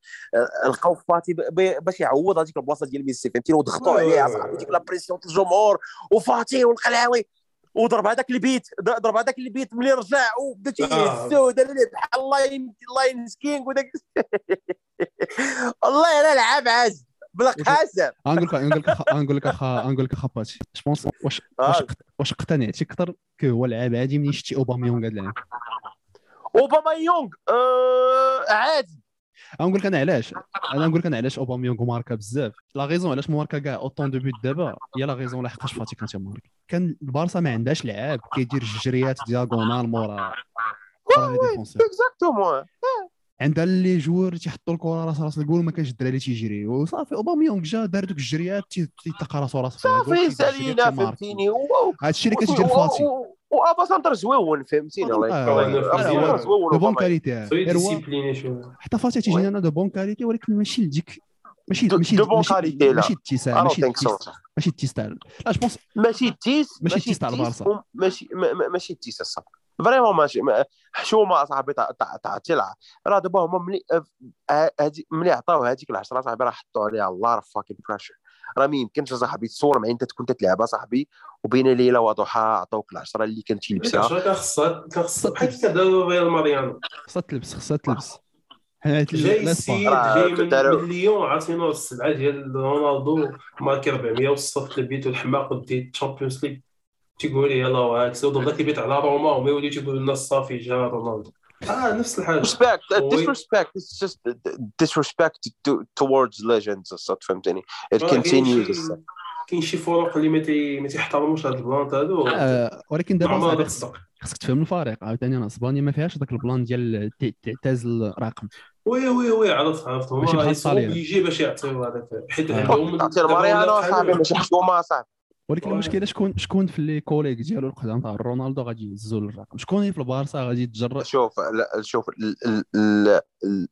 S4: لقاو فاتي ب- ب- باش يعوض هذيك البلاصه ديال ميسي فهمتيني وضغطوا
S3: أيوة،
S4: عليه صاحبي ديك لابريسيون ديال الجمهور وفاتي والقلاوي وضرب هذاك البيت د- ضرب هذاك البيت ملي رجع وبدا
S3: آه.
S4: تيهزو ودار ليه بحال لاين لاين سكينغ وداك والله انا لعاب عاج بلا قاسم
S1: نقول لك نقول لك أخا- نقول لك اخا نقول لك اخاباتي جو بونس واش واش
S4: آه.
S1: قت- واش اقتنعتي اكثر كو هو لعاب عادي منين شتي اوباميونغ هذا العام
S4: اوباما يونغ آه عادي
S1: انا نقول لك انا علاش انا نقول لك انا علاش اوباميونغ ماركا بزاف لا غيزون علاش ماركا كاع اوطون دو بوت دابا هي لا غيزون لحقاش فاتي كان تيماركا كان البارسا ما عندهاش لعاب كيدير الجريات دياغونال مورا مورا لي ديفونسور
S4: اكزاكتومون
S1: عندها لي جوار تيحطوا الكره راس راس الجول ما كانش الدراري تيجري وصافي اوباميونغ جا دار دوك الجريات تي- تيتلقى راسو راس
S4: صافي سالينا فهمتيني و-
S1: هادشي اللي كتجي
S4: و-
S1: لفاتي
S4: و- و- وابا سنتر زوون فهمتيني
S1: آه،
S4: الله
S1: آه،
S4: يكرمك
S1: آه،
S4: أبا سنتر
S1: آه،
S4: زوون
S1: دو بون
S4: أوباما.
S1: كاليتي
S3: سوي
S1: ايروا
S3: ديسيبليني شويه
S1: حتى فاتي تيجينا انا دو بون كاليتي ولكن ماشي لديك ماشي
S4: دو-
S1: ماشي
S4: دو بون
S1: ماشي-
S4: كاليتي، لا.
S1: ماشي التيسان
S4: I don't
S1: ماشي
S4: think so.
S1: التيس- ماشي التيستال لا جو بونس
S4: ماشي تيس
S1: ماشي التيس تاع البارسا.
S4: وم- ماشي ما- ما- ماشي تيس الصاحب فريمون ماشي ما- حشومه صاحبي تاع تاع تاع تلعب راه دابا هما ملي آه، هادي- ملي عطاو هذيك العشره صاحبي راه حطوا عليها الله فاكين بريشر راه ما يمكنش صاحبي تصور مع انت تكون تتلعب صاحبي وبين ليله وضحاها عطاوك العشره اللي كان تيلبسها
S3: العشره كان خصها كان خصها بحال كي كان دار ريال ماريانو
S1: خصها تلبس خصها تلبس حنا
S3: جاي
S1: لا سبا
S3: السيد
S4: راه
S3: جاي من,
S4: داروا-
S3: من ليون عاطينو السبعه ديال رونالدو ماركي 400 وصف البيت والحماق ودي الشامبيونز ليغ تيقول لي يلاه وهاك ودابا البيت على روما وما يوليو تيقولوا لنا صافي جا رونالدو اه نفس الحاجه
S4: respect uh,
S3: Oui.
S4: disrespect it's just uh, disrespect to, towards legends الصوت فهمتني it
S3: راه كاين
S4: continues
S3: شي
S4: الصوت.
S3: كاين شي فرق اللي ما تي- ما تيحترموش هاد البلانط هادو
S1: آه، ولكن دابا
S3: عمرها
S1: صاحبي
S3: ما
S1: خص-
S3: تصدق
S1: خصك تفهم الفريق عاوتاني انا اسبانيا ما فيهاش داك البلان ديال ت- تعتزل الرقم
S3: وي وي وي عرفت عرفت
S1: ماشي بحال
S3: هما يسوقوا
S1: الطليان.
S3: بيجي باش يعطيو هذاك حيت
S4: Oh,
S1: آه.
S3: عندهم
S4: تعطي
S3: دابا ولا
S4: ماريانو
S3: بحال-
S4: صاحبي ماشي حشومه صاحبي
S1: ولكن
S3: وي.
S1: المشكله شكون شكون في لي كوليك ديالو القدام تاع رونالدو غادي يهزوا الرقم شكون اللي في البارسا غادي يتجرأ
S4: شوف لا، شوف ال- ال- ال- ال-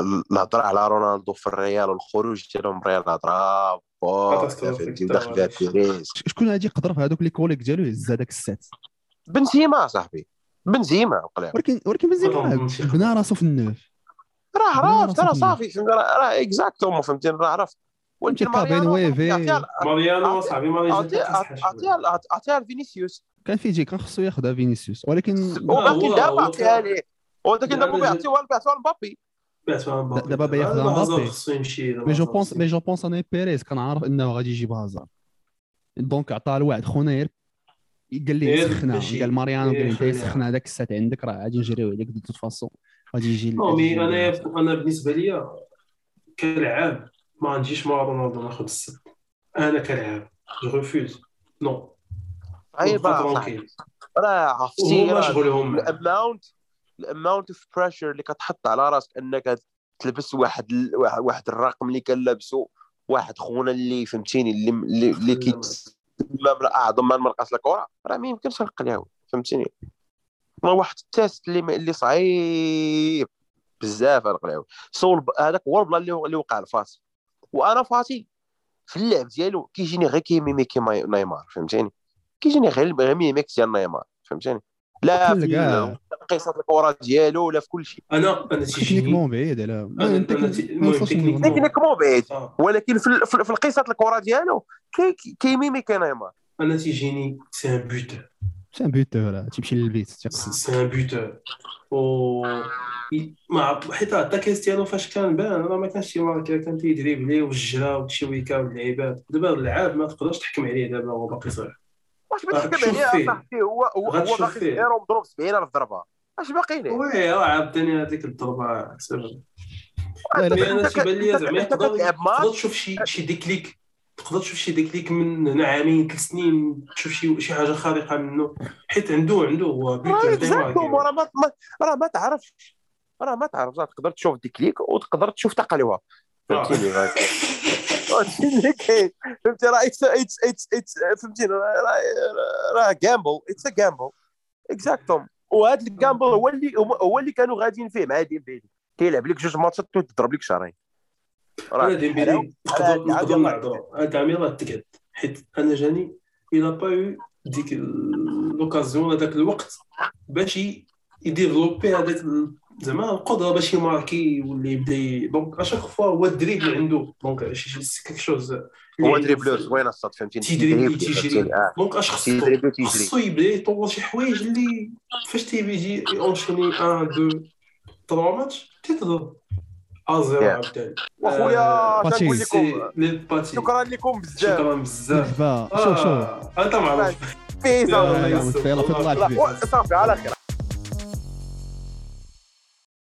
S4: ال- الهضره على رونالدو في الريال والخروج ديالو من الريال هضره بوف،
S3: كاتاستروفيك.
S4: فهمتي وداخل فيها بيريز
S1: ش- شكون غادي يقدر في هذوك لي كوليك ديالو يهز هذاك السات
S4: بنزيما صاحبي بنزيما وقلع
S1: ولكن ولكن بنزيما
S3: ما
S1: راه
S3: كنظنش يقدر.
S1: آه، بنا راسو في النوف
S4: راه
S1: لا،
S4: عرفت راه
S1: صافي.
S4: صافي فهمتني، راه راه اكزاكتومون فهمتني راه عرفت ولكن
S1: تلقى بين
S4: ماريانو
S1: ويفي.
S4: عطيها-
S3: ماريانو
S4: أعطي-
S3: صاحبي ماريانو
S4: عطيها- عطيها عطيها لفينيسيوس
S1: كان فيجي كان خصو ياخذها فينيسيوس ولكن
S3: هو-
S4: وباقي
S3: هو-
S4: دابا
S3: هو
S4: عطيها
S3: كان- يعني
S4: ليه ولكن
S3: دابا
S4: دابا
S3: جا-
S4: بيعطيوها بيعطيوها لمبابي
S1: دابا بايخ لامبابي.
S3: خصو يمشي
S1: مي جو بونس مي جو بونس انا بيريز كان عارف انه غادي يجيب هازار دونك عطاه لواحد خونا غير قال ليه
S3: غير
S1: سخنا
S3: ماشي.
S1: قال ماريانو قال
S3: غير
S1: لي انت
S3: خليها.
S1: سخنا هذاك السات عندك راه غادي نجريو عليك دو توت فاسون غادي يجي
S3: نو
S1: غادي
S3: مي
S1: يجي
S3: انا
S1: هازار.
S3: انا بالنسبه ليا كلاعب ما نجيش مع رونالدو ناخذ السد انا كلاعب جو ريفوز نو
S4: عيبه صاحبي راه عرفتي
S3: وهما
S4: راه
S3: شغلهم معاه.
S4: الاماونت الاماونت اوف بريشر اللي كتحط على راسك انك تلبس واحد ال- واحد- واحد الرقم اللي كان لابسو واحد خونا اللي فهمتيني اللي اللي, اللي كيتسمى من اعظم من مرقص الكره راه ما يمكنش نقلعو فهمتيني راه واحد التيست اللي ما- اللي صعيب بزاف نقلعو سو الب- هذاك هو البلان اللي اللي وقع لفاتي وانا فاتي في اللعب ديالو كيجيني غير كيميمي كيما نيمار فهمتيني كيجيني غير غير ميميك ديال نيمار فهمتيني لا
S1: وكل
S4: في
S1: كاع.
S4: ال- قصه الكره ديالو ولا في كل شيء
S3: انا انا تيجيني
S1: تكنيكمون بعيد على ما-
S3: أنا-
S1: تكنيك-
S3: أنا
S1: ما
S3: تي- المهم
S1: نوصلش
S3: تكنيكمون.
S1: للنيفو.
S4: تكنيك مو بعيد
S3: آه.
S4: ولكن في ال- في ال- في القصه الكره ديالو كي- كي- كيميمي كي نيمار
S3: انا تيجيني سي ان بوت
S1: سي ان بوتور آه، تيمشي للبيت تيقصد
S3: سي ان بوتور و ي- ما عرف- حيت حتى كريستيانو فاش كان بان راه ما كانش شي ماركه كان تيدريب ليه والجرا وداكشي ويكا واللعيبات دابا اللعاب ما تقدرش تحكم عليه دابا هو باقي صغير
S4: واش ما
S3: راح
S4: تحكم
S3: تشوف
S4: عليه
S3: فيه.
S4: صاحبي هو هو هو
S3: غتشوف
S4: باقي
S3: فيه.
S4: صغير ومضروب 70000 ضربه اش باقي ليه؟
S3: وي راه عاودتني هذيك الضربه سير.
S1: لا لا
S4: أنت-
S3: مي انا
S4: أنت-
S3: تيبان لي
S4: أنت-
S3: زعما
S4: أنت
S3: يقدر
S4: كتلعب
S3: تقدر
S4: ماتش
S3: تشوف شي شي ديكليك تقدر تشوف شي ديكليك من هنا عامين ثلاث سنين تشوف شي شي حاجه خارقه منه حيت عنده عنده هو
S4: راه
S3: بيوتر
S4: اكزاكتوم راه ما ما- راه ما تعرفش راه ما تعرفش راه تقدر تشوف ديكليك وتقدر تشوف تقلوها فهمتيني راه فهمتيني اللي كاين فهمتي راه it's it's it's it's فهمتيني راه- راه- راه جامبل اتس ا جامبل اكزاكتوم وهذا الجامبل هو اللي هو اللي كانوا غاديين فيه مع ديمبيلي كيلعب لك جوج ماتشات وتضرب لك شهرين
S3: انا
S4: راه
S3: ديمبيلي نقدر
S4: عاد
S3: نقدر
S4: يلا.
S3: نعذرو هاد عام يلاه تقعد حيت انا جاني الى با يو ديك ال- لوكازيون هذاك الوقت باش ي- يديفلوبي هذاك ال- زعما القدره باش يماركي واللي يبدا ي- دونك اشاك فوا هو الدريب اللي عنده دونك شي- شي- كيك شوز اللي
S4: هو
S3: عنده
S4: دريبلو
S3: في-
S4: زوين الصاد فهمتيني
S3: تيدريبلي
S4: تيدريبلي،
S3: تيجري آه.
S4: فهمتيني اه
S3: دونك اش خصو
S4: تيدريبلي تيجري
S3: خصو يبدا يطور شي حوايج اللي فاش تيبي يجي اونشيني 1 2 3 ماتش تيضرب ازيرو
S4: Yeah.
S3: عاوتاني
S4: وأخويا،
S1: اش نقول
S3: سي لي باتي
S4: شكرا لكم بزاف
S3: شكرا بزاف
S1: دابا شوف شوف
S3: آه، انت معروف
S4: بيس
S3: يا-
S4: الله
S1: آه،
S4: يسلمك.
S3: 啊
S1: يلا، تفضل
S3: الله
S1: على
S4: لا،
S1: الحبيب
S4: صافي على خير